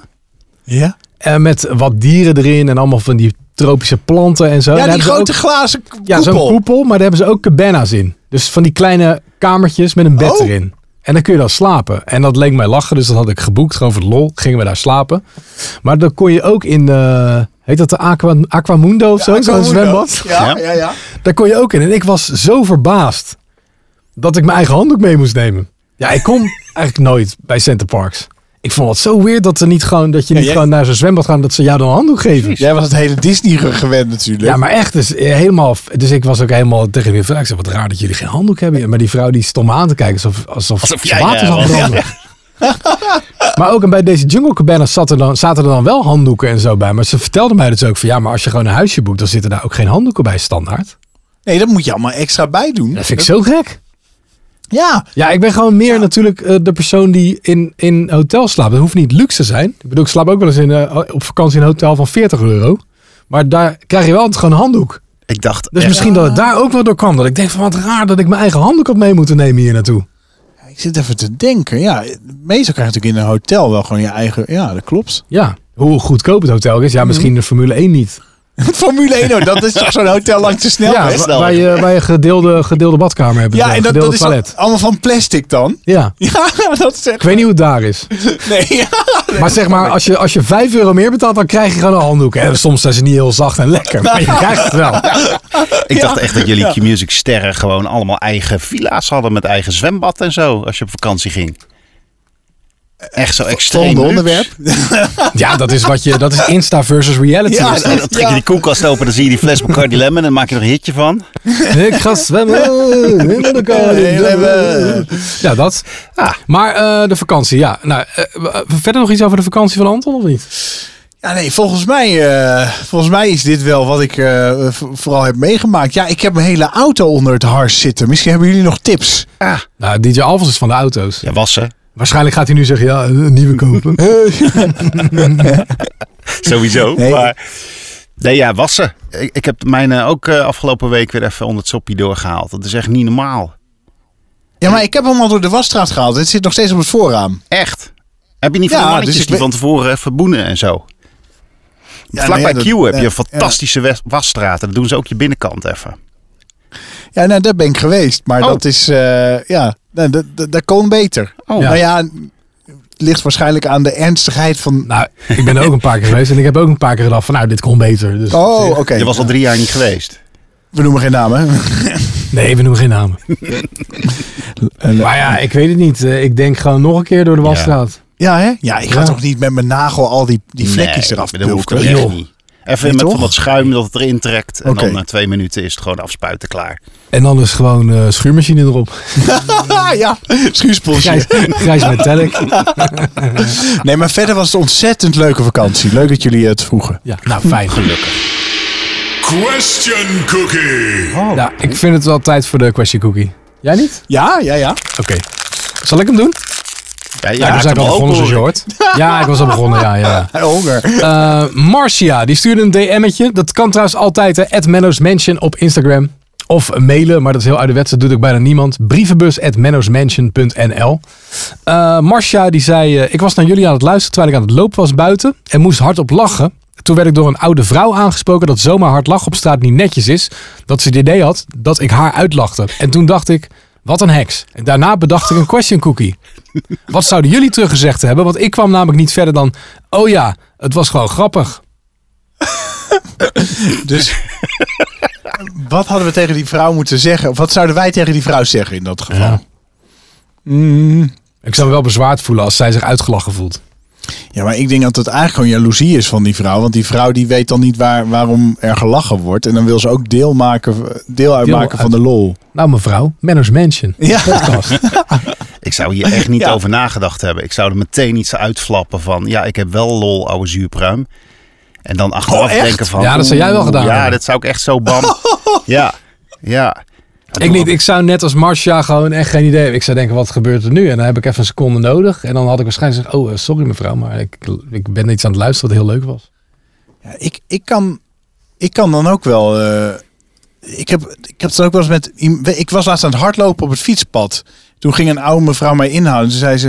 Ja? Eh, met wat dieren erin en allemaal van die tropische planten en zo. En Ja, daar die hebben ze grote ook- glazen k- ja, zo'n koepel. koepel, maar daar hebben ze ook cabanas in. Dus van die kleine kamertjes met een bed Oh. erin. En dan kun je dan slapen. En dat leek mij lachen, dus dat had ik geboekt. Gewoon voor de lol gingen we daar slapen. Maar dan kon je ook in, eh, heet dat de Aqua, Aquamundo of zo? Zo'n zwembad. Ja, Ja. ja, ja. Daar kon je ook in. En ik was zo verbaasd dat ik mijn eigen handdoek mee moest nemen. Ja, ik [LAUGHS] kom eigenlijk nooit bij Center Parks. Ik vond het zo weird dat, er niet gewoon, dat je niet jij- gewoon naar zo'n zwembad gaat en dat ze jou dan een handdoek geven. Jij was het hele Disney ge- gewend natuurlijk. Ja, maar echt, dus, eh, helemaal, dus ik was ook helemaal tegen die vrouw. Ik zei, wat raar dat jullie geen handdoek hebben. Maar die vrouw die stond me aan te kijken alsof, alsof, Alsof ze jij, water eh, zou [LAUGHS] was. branden. maar ook en bij deze Jungle Cabanas zaten er, dan, zaten er dan wel handdoeken en zo bij. Maar ze vertelden mij dus ook van ja, maar als je gewoon een huisje boekt, dan zitten daar ook geen handdoeken bij standaard. Nee, dat moet je allemaal extra bij doen. Dat vind ik zo gek. Ja. Ja, ik ben gewoon meer natuurlijk eh, de persoon die in, in hotels slaapt. Dat hoeft niet luxe te zijn. Ik bedoel, ik slaap ook wel eens in, eh, op vakantie in een hotel van 40 euro. Maar daar krijg je wel altijd gewoon een handdoek. Ik dacht Dus echt- misschien dat het daar ook wel door kwam. Dat ik denk van wat raar dat ik mijn eigen handdoek had mee moeten nemen hier naartoe. Ik zit even te denken. Ja, meestal krijg je natuurlijk in een hotel wel gewoon je eigen... Ja, dat klopt. [LAUGHS] Ja, hoe goedkoop het hotel is. Mhm. Ja, misschien de Formule 1 niet. Formule 1, hoor, dat is toch zo'n hotel langs de Ja, snelweg? wa- Ja, wel. waar je, waar je gedeelde, gedeelde badkamer hebt. Ja, en dat, gedeelde dat is toilet. al- allemaal van plastic dan. [LAUGHS] Ja, Ja, dat is ik echt... weet niet hoe het daar is. Nee, ja. Maar zeg maar, als je, als je 5 euro meer betaalt, dan krijg je gewoon een handdoek. En soms zijn ze niet heel zacht en lekker, maar je krijgt het [LAUGHS] wel. Ik dacht echt dat jullie Q-Music sterren gewoon allemaal eigen villa's hadden met eigen zwembad en zo als je op vakantie ging. echt zo extreem. Volgende luxe. onderwerp. Ja, dat is, wat je, dat is Insta versus reality. Ja, En dan trek je die koelkast open, dan zie je die fles Bacardi Lemon en dan maak je er een hitje van. [LAUGHS] Ik ga zwemmen in de [LAUGHS] Zwemmen. koude. Ja, dat. Ah. Maar eh, de vakantie, ja. Nou, eh, eh, verder nog iets over de vakantie van Anton of niet? Ja, nee, volgens mij, eh, volgens mij is dit wel wat ik eh, v- vooral heb meegemaakt. Ja, ik heb mijn hele auto onder het hars zitten. Misschien hebben jullie nog tips. Nou, DJ Alvels is van de auto's. Ja, wassen. Waarschijnlijk gaat hij nu zeggen, ja, een nieuwe [LAUGHS] kopen. [LAUGHS] Sowieso. Nee. Maar, nee, ja, wassen. Ik, ik heb mijn eh, ook eh, afgelopen week weer even onder het soppie doorgehaald. Dat is echt niet normaal. Ja, maar ik heb hem al door de wasstraat gehaald. Het zit nog steeds op het voorraam. Echt. Heb je niet van Ja, die dus mannetjes ik die ben- van tevoren even boenen en zo? Ja, Vlak nee, bij dat- Q heb ja, je een fantastische wes- wasstraat. Dan doen ze ook je binnenkant even. Ja, nou, daar ben ik geweest. Maar Oh. dat is, eh, ja, nou, dat, dat, dat kon beter. Oh. Nou ja, het ligt waarschijnlijk aan de ernstigheid van... nou, ik ben er ook een paar keer geweest en ik heb ook een paar keer gedacht van, nou, dit kon beter. Dus, oh, oké. Je was al drie jaar niet geweest. We noemen geen namen. Nee, we noemen geen namen. eh, maar ja, ik weet het niet. Eh, Ik denk gewoon nog een keer door de wasstraat. [LAUGHS] ja, hè? Ja, ik ga Ja. toch niet met mijn nagel al die, die vlekjes Nee, eraf dat hoeft pulken? ook echt niet. Even Nee, met toch? van dat schuim dat het erin trekt. En Oké. dan na twee minuten is het gewoon afspuiten klaar. En dan is gewoon eh, schuurmachine erop. Ah, [LAUGHS] ja, Grijs, schuursponsje. [LAUGHS] grijs metallic. Nee, maar verder was het een ontzettend leuke vakantie. Leuk dat jullie het vroegen. Ja, nou, fijn. Oh. Gelukkig. Question Cookie. Ja, ik vind het wel tijd voor de question cookie. Jij niet? Ja, ja, ja. Oké. Zal ik hem doen? Ja, je we raakt zijn hem al begonnen, open, zoals je hoor. hoort. Ja, ik was al begonnen, ja, ja. Hij honger. Eh, Marcia, die stuurde een DM'tje. Dat kan trouwens altijd, hè. At Menno's Mansion op Instagram. Of mailen, maar dat is heel ouderwets. Dat doet ook bijna niemand. Brievenbus at menno'smansion.nl Eh, Marcia, die zei... eh, ik was naar jullie aan het luisteren terwijl ik aan het lopen was buiten. En moest hardop lachen. Toen werd ik door een oude vrouw aangesproken dat zomaar hard lachen op straat niet netjes is. Dat ze het idee had dat ik haar uitlachte. En toen dacht ik, wat een heks. En daarna bedacht ik een question cookie. Wat zouden jullie teruggezegd hebben? Want ik kwam namelijk niet verder dan... Oh ja, het was gewoon grappig. Dus wat hadden we tegen die vrouw moeten zeggen? Of wat zouden wij tegen die vrouw zeggen in dat geval? Ja, Ik zou me wel bezwaard voelen als zij zich uitgelachen voelt. maar ik denk dat het eigenlijk gewoon jaloezie is van die vrouw. Want die vrouw die weet dan niet waar, waarom er gelachen wordt. En dan wil ze ook deel, maken, deel uitmaken uit- van de lol. Nou mevrouw, Manners Mansion. Ja. Podcast. Ik zou hier echt niet [LAUGHS] Ja. over nagedacht hebben. Ik zou er meteen iets uitflappen van... Ja, ik heb wel lol, ouwe zuurpruim. En dan achteraf echt? denken van... Oh, Ja, dat zou jij wel oeh, gedaan Ja, hebben. dat zou ik echt zo bam. [LAUGHS] ja, ja. [LAUGHS] ik niet. Ik zou net als Marcia gewoon echt geen idee hebben. Ik zou denken, wat gebeurt er nu? En dan heb ik even een seconde nodig. En dan had ik waarschijnlijk gezegd, oh eh, sorry mevrouw, maar ik, ik ben iets aan het luisteren wat heel leuk was. Ja, ik, ik, kan, ik kan dan ook wel. eh, ik, heb, ik heb het ook wel eens met. iem- Ik was laatst aan het hardlopen op het fietspad. Toen ging een oude mevrouw mij inhouden. Toen zei ze: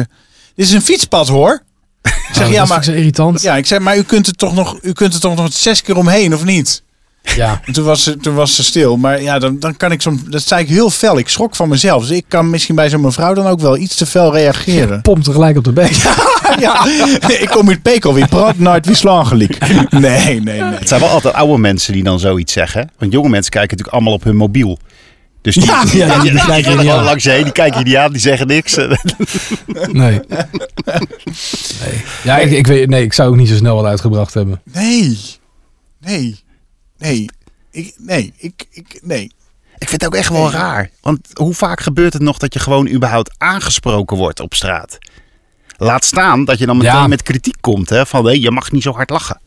Dit is een fietspad hoor. Ik zeg, Oh, ja, dat maar, is irritant. Ja. ja, ik zeg, maar u kunt, er toch nog, u kunt er toch nog zes keer omheen, of niet? En toen was ze, toen was ze stil. Maar ja, dan, dan kan ik zo'n. Dat zei ik heel fel. Ik schrok van mezelf. Dus ik kan misschien bij zo'n mevrouw dan ook wel iets te fel reageren. Pompt er gelijk op de bek. [LAUGHS] ja, nee, ik kom uit Pekel. Wie praat nooit, wie slangelijk. Nee, nee, nee. Het zijn wel altijd oude mensen die dan zoiets zeggen. Want jonge mensen kijken natuurlijk allemaal op hun mobiel. Dus die, Ja, ja, ja, die kijken kijken niet er aan. gewoon langs heen. Die kijken je niet aan, die zeggen [LAUGHS] niks. [LAUGHS] Nee. nee. Ja, ik, ik, weet, nee, ik zou ook niet zo snel wat uitgebracht hebben. Nee. Nee. Nee. Ik, nee. Ik, ik, nee. Ik vind het ook echt wel raar. Want hoe vaak gebeurt het nog dat je gewoon überhaupt aangesproken wordt op straat? Laat staan dat je dan meteen Ja. met kritiek komt. Hè? Van hé, je mag niet zo hard lachen.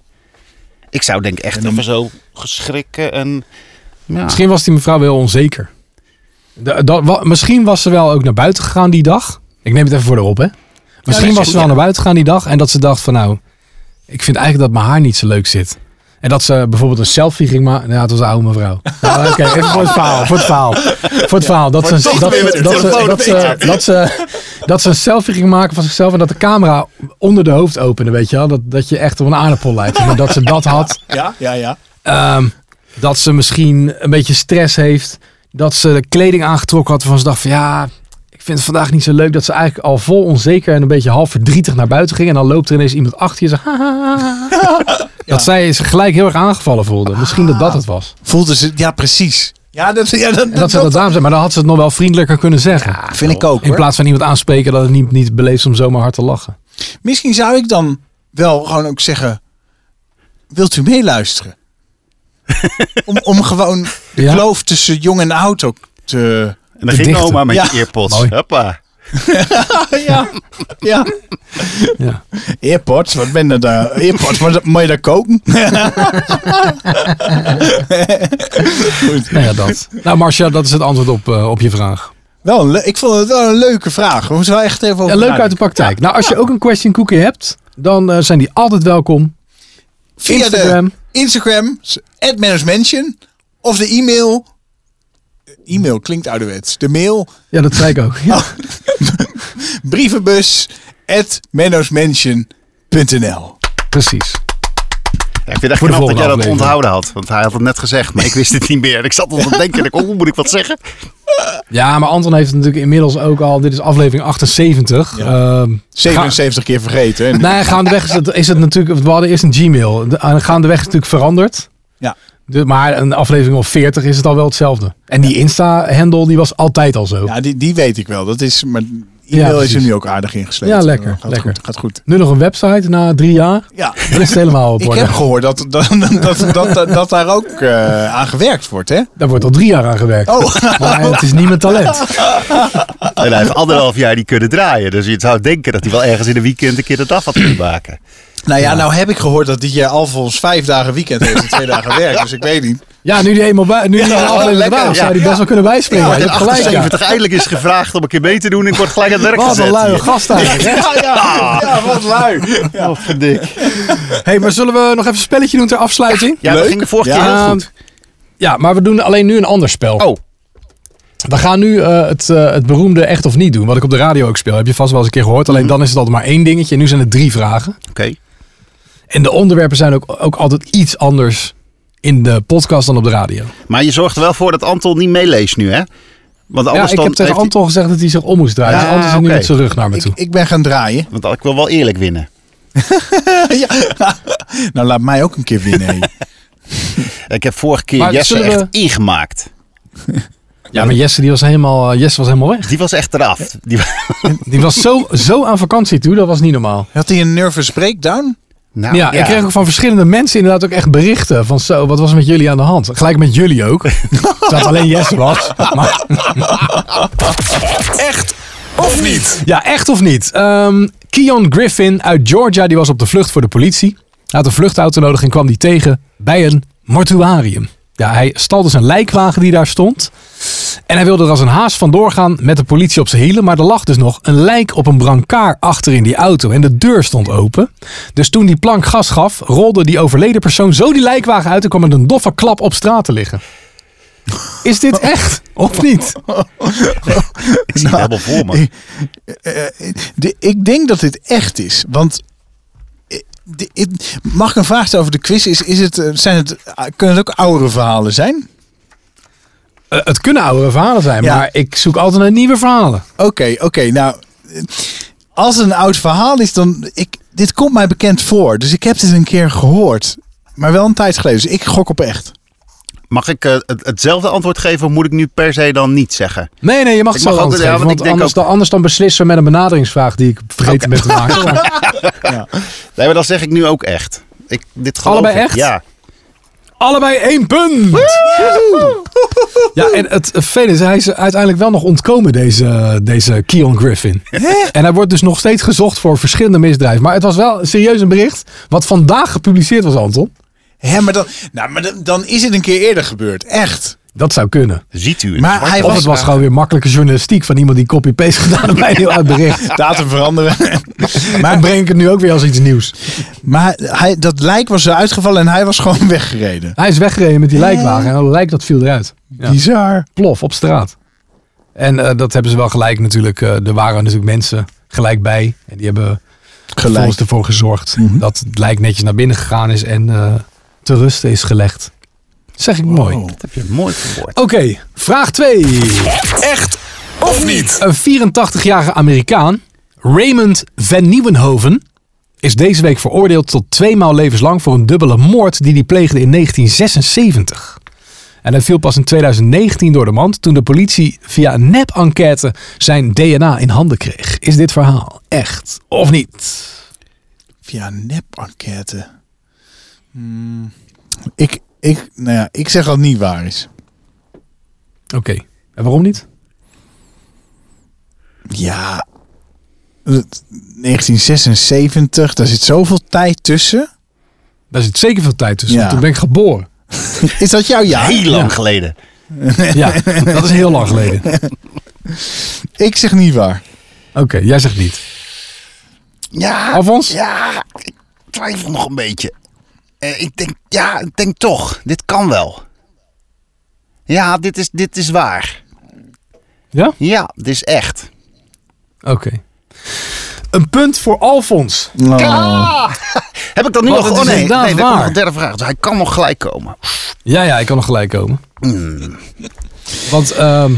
Ik zou denk ik echt even zo geschrikken en... Ja. Misschien was die mevrouw wel onzeker. Da- da- wa- misschien was ze wel ook naar buiten gegaan die dag. Ik neem het even voor de op, hè. Misschien was ze wel naar buiten gegaan die dag en dat ze dacht van nou, ik vind eigenlijk dat mijn haar niet zo leuk zit. En dat ze bijvoorbeeld een selfie ging maken. Ja, het was een oude [LAUGHS] mevrouw. Ja, Nou, Oké, even voor het verhaal. Voor het verhaal. Voor het verhaal. Dat ze- toch dat- weer met de dat ze- telefoon dat ze- dat ze- Dat ze een selfie ging maken van zichzelf. En dat de camera onder de hoofd opende, weet je wel. Dat, dat je echt op een aardappel lijkt. En dat ze dat had. Ja, ja, ja. Ehm, dat ze misschien een beetje stress heeft. Dat ze de kleding aangetrokken had waarvan ze dacht van ja, ik vind het vandaag niet zo leuk. Dat ze eigenlijk al vol onzeker en een beetje half verdrietig naar buiten ging. En dan loopt er ineens iemand achter je en zegt, "Ha, ha, ha, ha." [LAUGHS] Dat zij zich gelijk heel erg aangevallen voelde. Misschien dat dat het was. Voelde ze... Ja, precies. Ja, dat, ja, dat, En dat ze dat daarom zei, maar dan had ze het nog wel vriendelijker kunnen zeggen. vind ik ook, In plaats van iemand aanspreken dat het niet, niet beleefd is om zomaar hard te lachen. Misschien zou ik dan wel gewoon ook zeggen: wilt u [LAUGHS] meeluisteren? om, om gewoon de Ja. kloof tussen jong en oud ook te. En dan ging dichter. oma met Ja. je earpods. Mooi. Hoppa. [LAUGHS] ja, ja. Ja. Earpods, wat ben je daar? Earpods, wat, moet je daar koken? [LAUGHS] Goed. Nou ja, dat. Nou, Marcia, dat is het antwoord op, eh, op je vraag. Wel een le- ik vond het wel een leuke vraag. We moeten wel echt even over Ja, leuk nadenken. uit de praktijk. Nou, als je ook een question cookie hebt, dan eh, zijn die altijd welkom. Via Instagram. de Instagram, at managementje, of de e-mail. E-mail klinkt ouderwets. De mail, Ja, dat zei ik ook. Ja. brievenbus, at managementje.nl. Precies. Ja, ik vind het echt Voor de knap volgende dat jij dat aflevering. onthouden had. Want hij had het net gezegd, maar ik wist het niet meer. En ik zat al te denken, ik, oh, moet ik wat zeggen? Ja, maar Anton heeft het natuurlijk inmiddels ook al. Dit is aflevering 78. Ja. Ehm, 77 keer vergeten. En, Nee, gaandeweg is het, is het natuurlijk. We hadden eerst een Gmail. De, aan- gaandeweg is het natuurlijk veranderd. ja. De, maar een aflevering of 40 is het al wel hetzelfde. En die Insta-handle die was altijd al zo. ja, die, die weet ik wel. Dat is, maar e-mail is precies. er nu ook aardig ingesleten. Ja, lekker, Gaat lekker. goed. Gaat goed. Nu nog een website na drie jaar. Ja. Dan is het helemaal op Ik orde. heb gehoord dat, [LAUGHS] dat, dat, dat, dat, dat daar ook eh, aan gewerkt wordt, hè? Daar wordt al drie jaar aan gewerkt. Oh. Maar het is niet mijn talent. En hij heeft anderhalf jaar die kunnen draaien. Dus je zou denken dat hij wel ergens in een weekend een keer het af had kunnen maken. Nou ja, nou heb ik gehoord dat DJ Alfons vijf dagen weekend heeft [LAUGHS] en twee dagen werk. Dus ik weet niet. Ja, nu die eenmaal bij, nu die Ja, een aflevering lekker, gedaan is, ja. zou die best wel kunnen bijspringen. Ja, je en hebt gelijk. ja. 78 eindelijk is gevraagd om een keer mee te doen. En ik word gelijk aan het werk Wat gezet. een luie hier. gast eigenlijk. hè? Ja, ja, ja wat lui. Ja. Oh, verdik. hey, maar zullen we nog even een spelletje doen ter afsluiting? ehm, Ja, Leuk. dat ging de vorige keer Ja. heel goed. Ja, maar we doen alleen nu een ander spel. Oh, We gaan nu eh, het, eh, het beroemde echt of niet doen, wat ik op de radio ook speel. Heb je vast wel eens een keer gehoord. Mhm. Alleen dan is het altijd maar één dingetje. En nu zijn het drie vragen. oké. En de onderwerpen zijn ook, ook altijd iets anders in de podcast dan op de radio. Maar je zorgt er wel voor dat Anton niet meeleest nu, hè? Want Ja, anders ik dan heb tegen heeft hij- Anton gezegd dat hij zich om moest draaien. Ja, dus Anton zit nu oké. met zijn rug naar me Ik, toe. ik ben gaan draaien. Want ik wil wel eerlijk winnen. Ja. Nou, laat mij ook een keer winnen. hé. Ik heb vorige keer Maar Jesse zullen we- echt ingemaakt. ja, maar Jesse, die was helemaal, eh, Jesse was helemaal weg. Die was echt eraf. Die... Die was [LAUGHS] zo, zo aan vakantie toe, dat was niet normaal. Had hij een nervous breakdown? Nou, Ja, ik kreeg ook van verschillende mensen inderdaad ook echt berichten van zo, wat was er met jullie aan de hand? Gelijk met jullie ook. [LAUGHS] dat alleen Jesse was. Maar, Echt of niet? ja, echt of niet? Ehm Keon Griffin uit Georgia, die was op de vlucht voor de politie. Hij had een vluchtauto nodig en kwam die tegen bij een mortuarium. Ja, hij stal dus een lijkwagen die daar stond. En hij wilde er als een haas vandoor gaan met de politie op zijn hielen. Maar er lag dus nog een lijk op een brancard achter in die auto. En de deur stond open. Dus toen die plank gas gaf, rolde die overleden persoon zo die lijkwagen uit. En kwam met een doffe klap op straat te liggen. Is dit echt of [LAUGHS] niet? Nou, Nou, Ik zie het helemaal voor me. ik- eh, De, ik denk dat dit echt is. Want. eh, de- ik- mag ik een vraag stellen over de quiz? Is, is het, eh, zijn het, eh, kunnen het ook oudere verhalen zijn? Eh, het kunnen oudere verhalen zijn, Ja. maar ik zoek altijd naar nieuwe verhalen. Oké, oké. nou, eh, als het een oud verhaal is, dan... Ik, dit komt mij bekend voor. Dus ik heb dit een keer gehoord. Maar wel een tijd geleden. Dus ik gok op echt. Mag ik eh, het, hetzelfde antwoord geven of moet ik nu per se dan niet zeggen? Nee, nee, je mag het Ik zo mag ook- antwoord ja, geven, want ik want denk anders, ook- dan, anders dan beslissen we met een benaderingsvraag die ik vergeten ben te maken. [LAUGHS] [LAUGHS] Maar Nee, maar dan zeg ik nu ook echt. Ik, dit geloof Allebei ik. echt? Ja. allebei één punt! Ja, en het vervelende is, hij is uiteindelijk wel nog ontkomen, deze, deze Keon Griffin. En hij wordt dus nog steeds gezocht voor verschillende misdrijven. Maar het was wel serieus een bericht, wat vandaag gepubliceerd was, Anton. Hè, maar dan, nou, maar dan, dan is het een keer eerder gebeurd. Echt. Dat zou kunnen. Ziet u het? Maar Zwart hij op Of was- het was gewoon weer makkelijke journalistiek van iemand die copy-paste gedaan heeft bij een heel oud bericht. Datum veranderen. [LAUGHS] Maar breng ik het nu ook weer als iets nieuws. maar hij, dat lijk was eruit gevallen en hij was gewoon [LAUGHS] weggereden. Hij is weggereden met die lijkwagen en dat lijk dat viel eruit. Ja. Bizar. plof op straat. En eh, dat hebben ze wel gelijk natuurlijk. eh, er waren natuurlijk mensen gelijk bij. En die hebben Gelijk. Mhm. volgens ervoor gezorgd dat het lijk netjes naar binnen gegaan is en eh, te rusten is gelegd. Dat zeg ik mooi. Dat heb je mooi verwoord. Oké, vraag 2. Echt of niet? Een 84-jarige Amerikaan, Raymond Van Nieuwenhoven, is deze week veroordeeld tot twee maal levenslang voor een dubbele moord die hij pleegde in 1976. En hij viel pas in 2019 door de mand toen de politie via een nep-enquête zijn DNA in handen kreeg. Is dit verhaal echt of niet? Via een nep-enquête. Hmm. Ik, ik, nou ja, ik zeg dat het niet waar is. Oké. En waarom niet? Ja. het- 1976, daar zit zoveel tijd tussen. Daar zit zeker veel tijd tussen. Ja. want Toen ben ik geboren. Is dat jouw jaar? Heel lang geleden. Ja, dat is heel lang geleden. Oké, Ik zeg niet waar. jij zegt niet. Ja, Alfons? Ja, ik twijfel nog een beetje. Eh, ik denk, ja, ik denk toch. Dit kan wel. Ja, dit is, dit is waar. Ja? Ja, dit is echt. Oké. Een punt voor Alfons. Oh. Heb ik dat nu Want nog? oh, het is nee, nee, inderdaad daar komt waar. nog een derde vraag. Dus hij kan nog gelijk komen. Ja, ja, ik kan nog gelijk komen. Mm. Want ehm,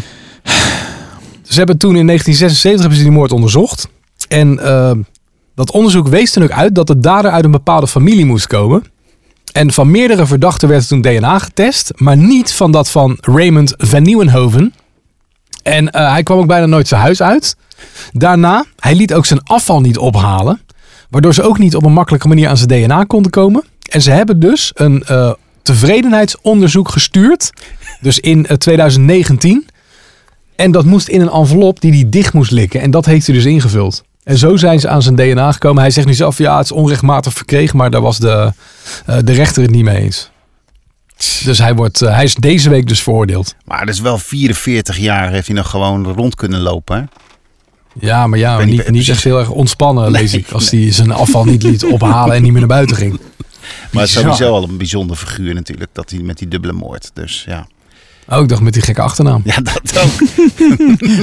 ze hebben toen in 1976 hebben ze die moord onderzocht. En ehm, dat onderzoek wees toen ook uit dat de dader uit een bepaalde familie moest komen. En van meerdere verdachten werd toen DNA getest, maar niet van dat van Raymond van Nieuwenhoven. En eh, hij kwam ook bijna nooit zijn huis uit. Daarna, hij liet ook zijn afval niet ophalen. Waardoor ze ook niet op een makkelijke manier aan zijn DNA konden komen. En ze hebben dus een eh, tevredenheidsonderzoek gestuurd. Dus in eh, 2019. En dat moest in een envelop die hij dicht moest likken. En dat heeft hij dus ingevuld. En zo zijn ze aan zijn DNA gekomen. Hij zegt nu zelf, ja, het is onrechtmatig verkregen. Maar daar was de, eh, de rechter het niet mee eens. Dus hij, wordt, eh, hij is deze week dus veroordeeld. Maar dat is wel 44 jaar heeft hij nog gewoon rond kunnen lopen. hè? Ja, maar ja, ben niet niet, precies- niet echt heel erg ontspannen, lees Nee, ik. Als hij zijn afval niet liet ophalen en niet meer naar buiten ging. Maar het is Bizar. sowieso al een bijzonder figuur natuurlijk. Dat hij met die dubbele moord. Dus ja. Oh, ik dacht met die gekke achternaam. Ja, dat [LAUGHS] ook.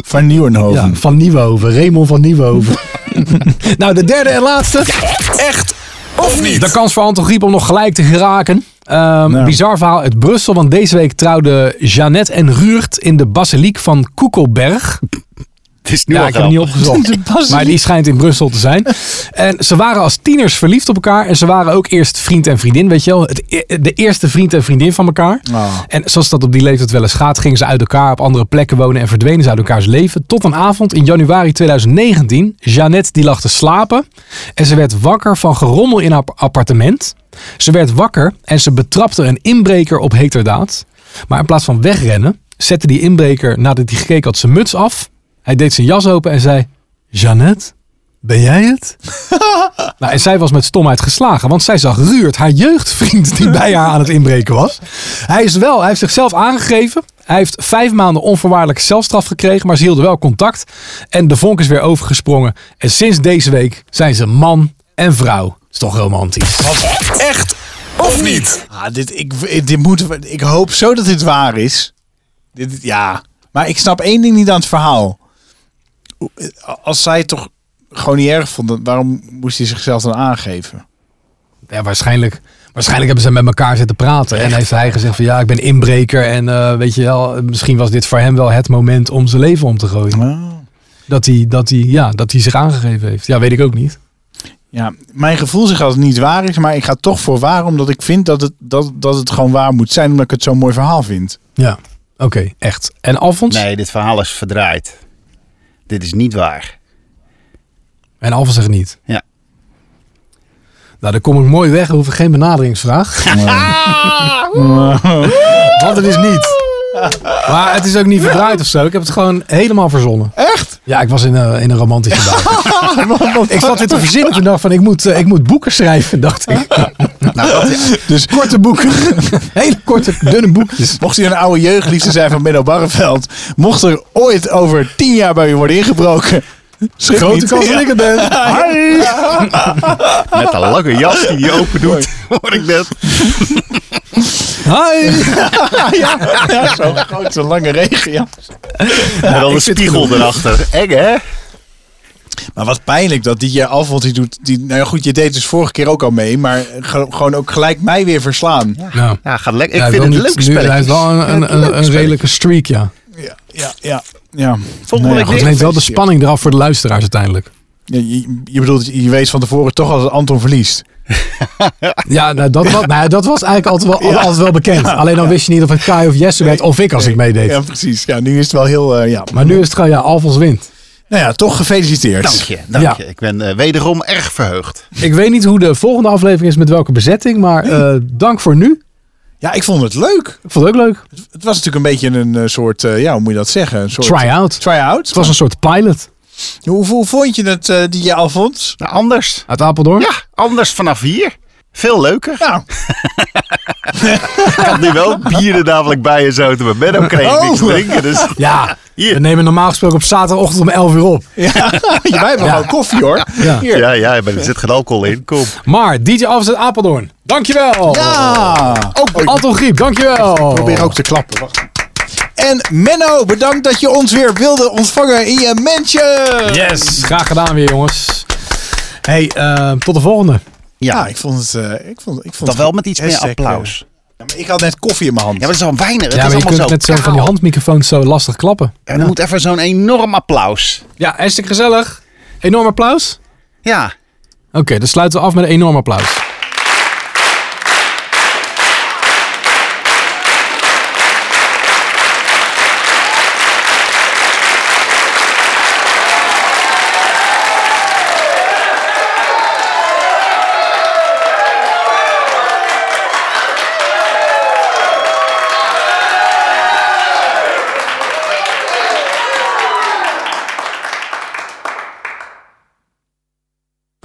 Van Nieuwenhoven. Ja, van Nieuwhoven. Raymond van [LAUGHS] Nieuwhoven. nou, de derde en laatste. Echt of niet? Nou. De kans voor Anton Griep om nog gelijk te geraken. Ehm, Bizar verhaal uit Brussel, want deze week trouwden Jeannette en Ruurt in de basiliek van Koekelberg. Het is nu ja, al ik heb hem niet grappig. opgezocht. maar die schijnt in Brussel te zijn. En ze waren als tieners verliefd op elkaar. En ze waren ook eerst vriend en vriendin, weet je wel. Het, e- de eerste vriend en vriendin van elkaar. Ah. En zoals dat op die leeftijd wel eens gaat, gingen ze uit elkaar op andere plekken wonen en verdwenen ze uit elkaars leven. Tot een avond in januari 2019. Jeannette die lag te slapen. En ze werd wakker van gerommel in haar appartement. Ze werd wakker en ze betrapte een inbreker op heterdaad. Maar in plaats van wegrennen, zette die inbreker nadat hij gekeken had zijn muts af. Hij deed zijn jas open en zei: Jeannette, ben jij het? [LAUGHS] nou, en zij was met stomheid geslagen, want zij zag Ruurt, haar jeugdvriend, die bij haar aan het inbreken was. Hij is wel, hij heeft zichzelf aangegeven. Hij heeft vijf maanden onvoorwaardelijke zelfstraf gekregen, maar ze hielden wel contact. En de vonk is weer overgesprongen. En sinds deze week zijn ze man en vrouw. Is toch romantisch? Echt of niet? Ah, dit, ik, dit moet, ik hoop zo dat dit waar is. Dit, ja. Maar ik snap één ding niet aan het verhaal. Als zij het toch gewoon niet erg vond, dan- waarom moest hij zichzelf dan aangeven? Ja, waarschijnlijk, waarschijnlijk hebben ze met elkaar zitten praten. En heeft hij gezegd van ja, ik ben inbreker. En eh, weet je wel, misschien was dit voor hem wel het moment om zijn leven om te gooien. Dat, hij, dat, hij, ja, dat hij zich aangegeven heeft. Ja, weet ik ook niet. Ja, mijn gevoel zegt dat het niet waar is, maar ik ga toch voor waar, omdat ik vind dat het, dat, dat het gewoon waar moet zijn, omdat ik het zo'n mooi verhaal vind. Ja, oké, echt. En Alfons? Nee, dit verhaal is verdraaid. Dit is niet [LAUGHS] waar. En Alfons zegt niet. Ja. Nou, dan kom ik mooi weg. Hoef ik geen [LAUGHS] benaderingsvraag. Want het is niet. Maar het is ook niet verdraaid of zo. Ik heb het gewoon helemaal verzonnen. Echt? Ja, ik was in een, in een romantische [LAUGHS] bui. ik zat dit te verzinnen toen dacht van ik moet, eh, ik moet boeken schrijven, dacht ik. Nou, dat, Dus korte [LAUGHS] boeken. Hele korte, dunne boekjes. Mocht u een oude jeugdliefde zijn van Menno Barreveld, mocht er ooit over tien jaar bij u worden ingebroken, schrik Grote niet. kans dat ik het ben. met de lange jas die hij [LAUGHS] open doet, [LAUGHS] hoor ik dat. [LAUGHS] Hi. Ja, zo'n grote lange regen, ja. en dan ik een vind spiegel erachter. Eng, hè? Maar wat pijnlijk dat die je af, want die doet... Die, nou ja, goed, je deed dus vorige keer ook al mee, maar eh, ge- gewoon ook gelijk mij weer verslaan. Ja, Nou, Ja, gaat lekker. Ik hij vind wil het niet- een leuk nu- Hij heeft spelletje. wel een, een, een, een redelijke streak, ja. ja, ja. ja. Volgende Nou ja, goed, week Het weer. neemt wel de spanning eraf voor de luisteraars uiteindelijk. Je, je- je bedoelt, je weet van tevoren toch als Anton verliest. Ja, nou, dat, [LAUGHS] was, nou, dat was eigenlijk altijd wel, altijd wel bekend. Alleen dan wist je niet of het Kai of Jesse werd of ik als ik meedeed. Ja, precies. Ja, nu is het wel heel... eh, ja. Maar nu is het gewoon, ja, Alfons wint. Nou ja, toch gefeliciteerd. Dank je, dank Ja. je. Ik ben eh, wederom erg verheugd. Ik weet niet hoe de volgende aflevering is met welke bezetting, maar eh, dank voor nu. Ja, ik vond het leuk. Ik vond het ook leuk. Het was natuurlijk een beetje een eh, soort, eh, ja, hoe moet je dat zeggen? Een soort Try-out. Try-out. Het was een soort pilot Hoe, hoe vond je het, eh, die Alfons? Nou, anders. uit Apeldoorn. Ja, anders vanaf hier. Veel leuker. Nou, Ik had nu wel bieren namelijk bij en zo. Maar Benno kreeg Oh. niks te drinken. Dus Ja, Hier. we nemen normaal gesproken op zaterdagochtend om 11 uur op. ja, [LAUGHS] wij hebben gewoon koffie hoor. Ja. Hier. ja, ja, maar er zit geen alcohol in. Kom. Maar DJ Alfons uit Apeldoorn, dankjewel. Ah, Ook Anton Griep, dankjewel. probeer ook te klappen. Wacht. En Menno, bedankt dat je ons weer wilde ontvangen in je mansion. Yes, graag gedaan weer jongens. Hey, eh, tot de volgende. Ja, Ja, ik vond het... eh, ik vond, ik vond dan het wel met iets meer Hashtag, eh, applaus. Ja, ja, maar ik had net koffie in mijn hand. maar dat is al weinig. Het ja, is maar je allemaal kunt zo met zo'n van die kaal. handmicrofoons zo lastig klappen. En dan moet even zo'n enorm applaus. Ja, hartstikke gezellig. Enorm applaus. Ja. Oké, dan sluiten we af met een enorm applaus.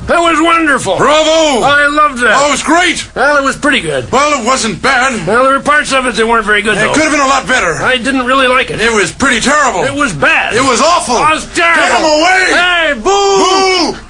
That was wonderful. Bravo! I loved that. Oh, it was great. Well, it was pretty good. Well, it wasn't bad. Well, there were parts of it that weren't very good, It though. could have been a lot better. I didn't really like it. It was pretty terrible. It was bad. It was awful. It was terrible. Get him away! Hey, boo! Boo!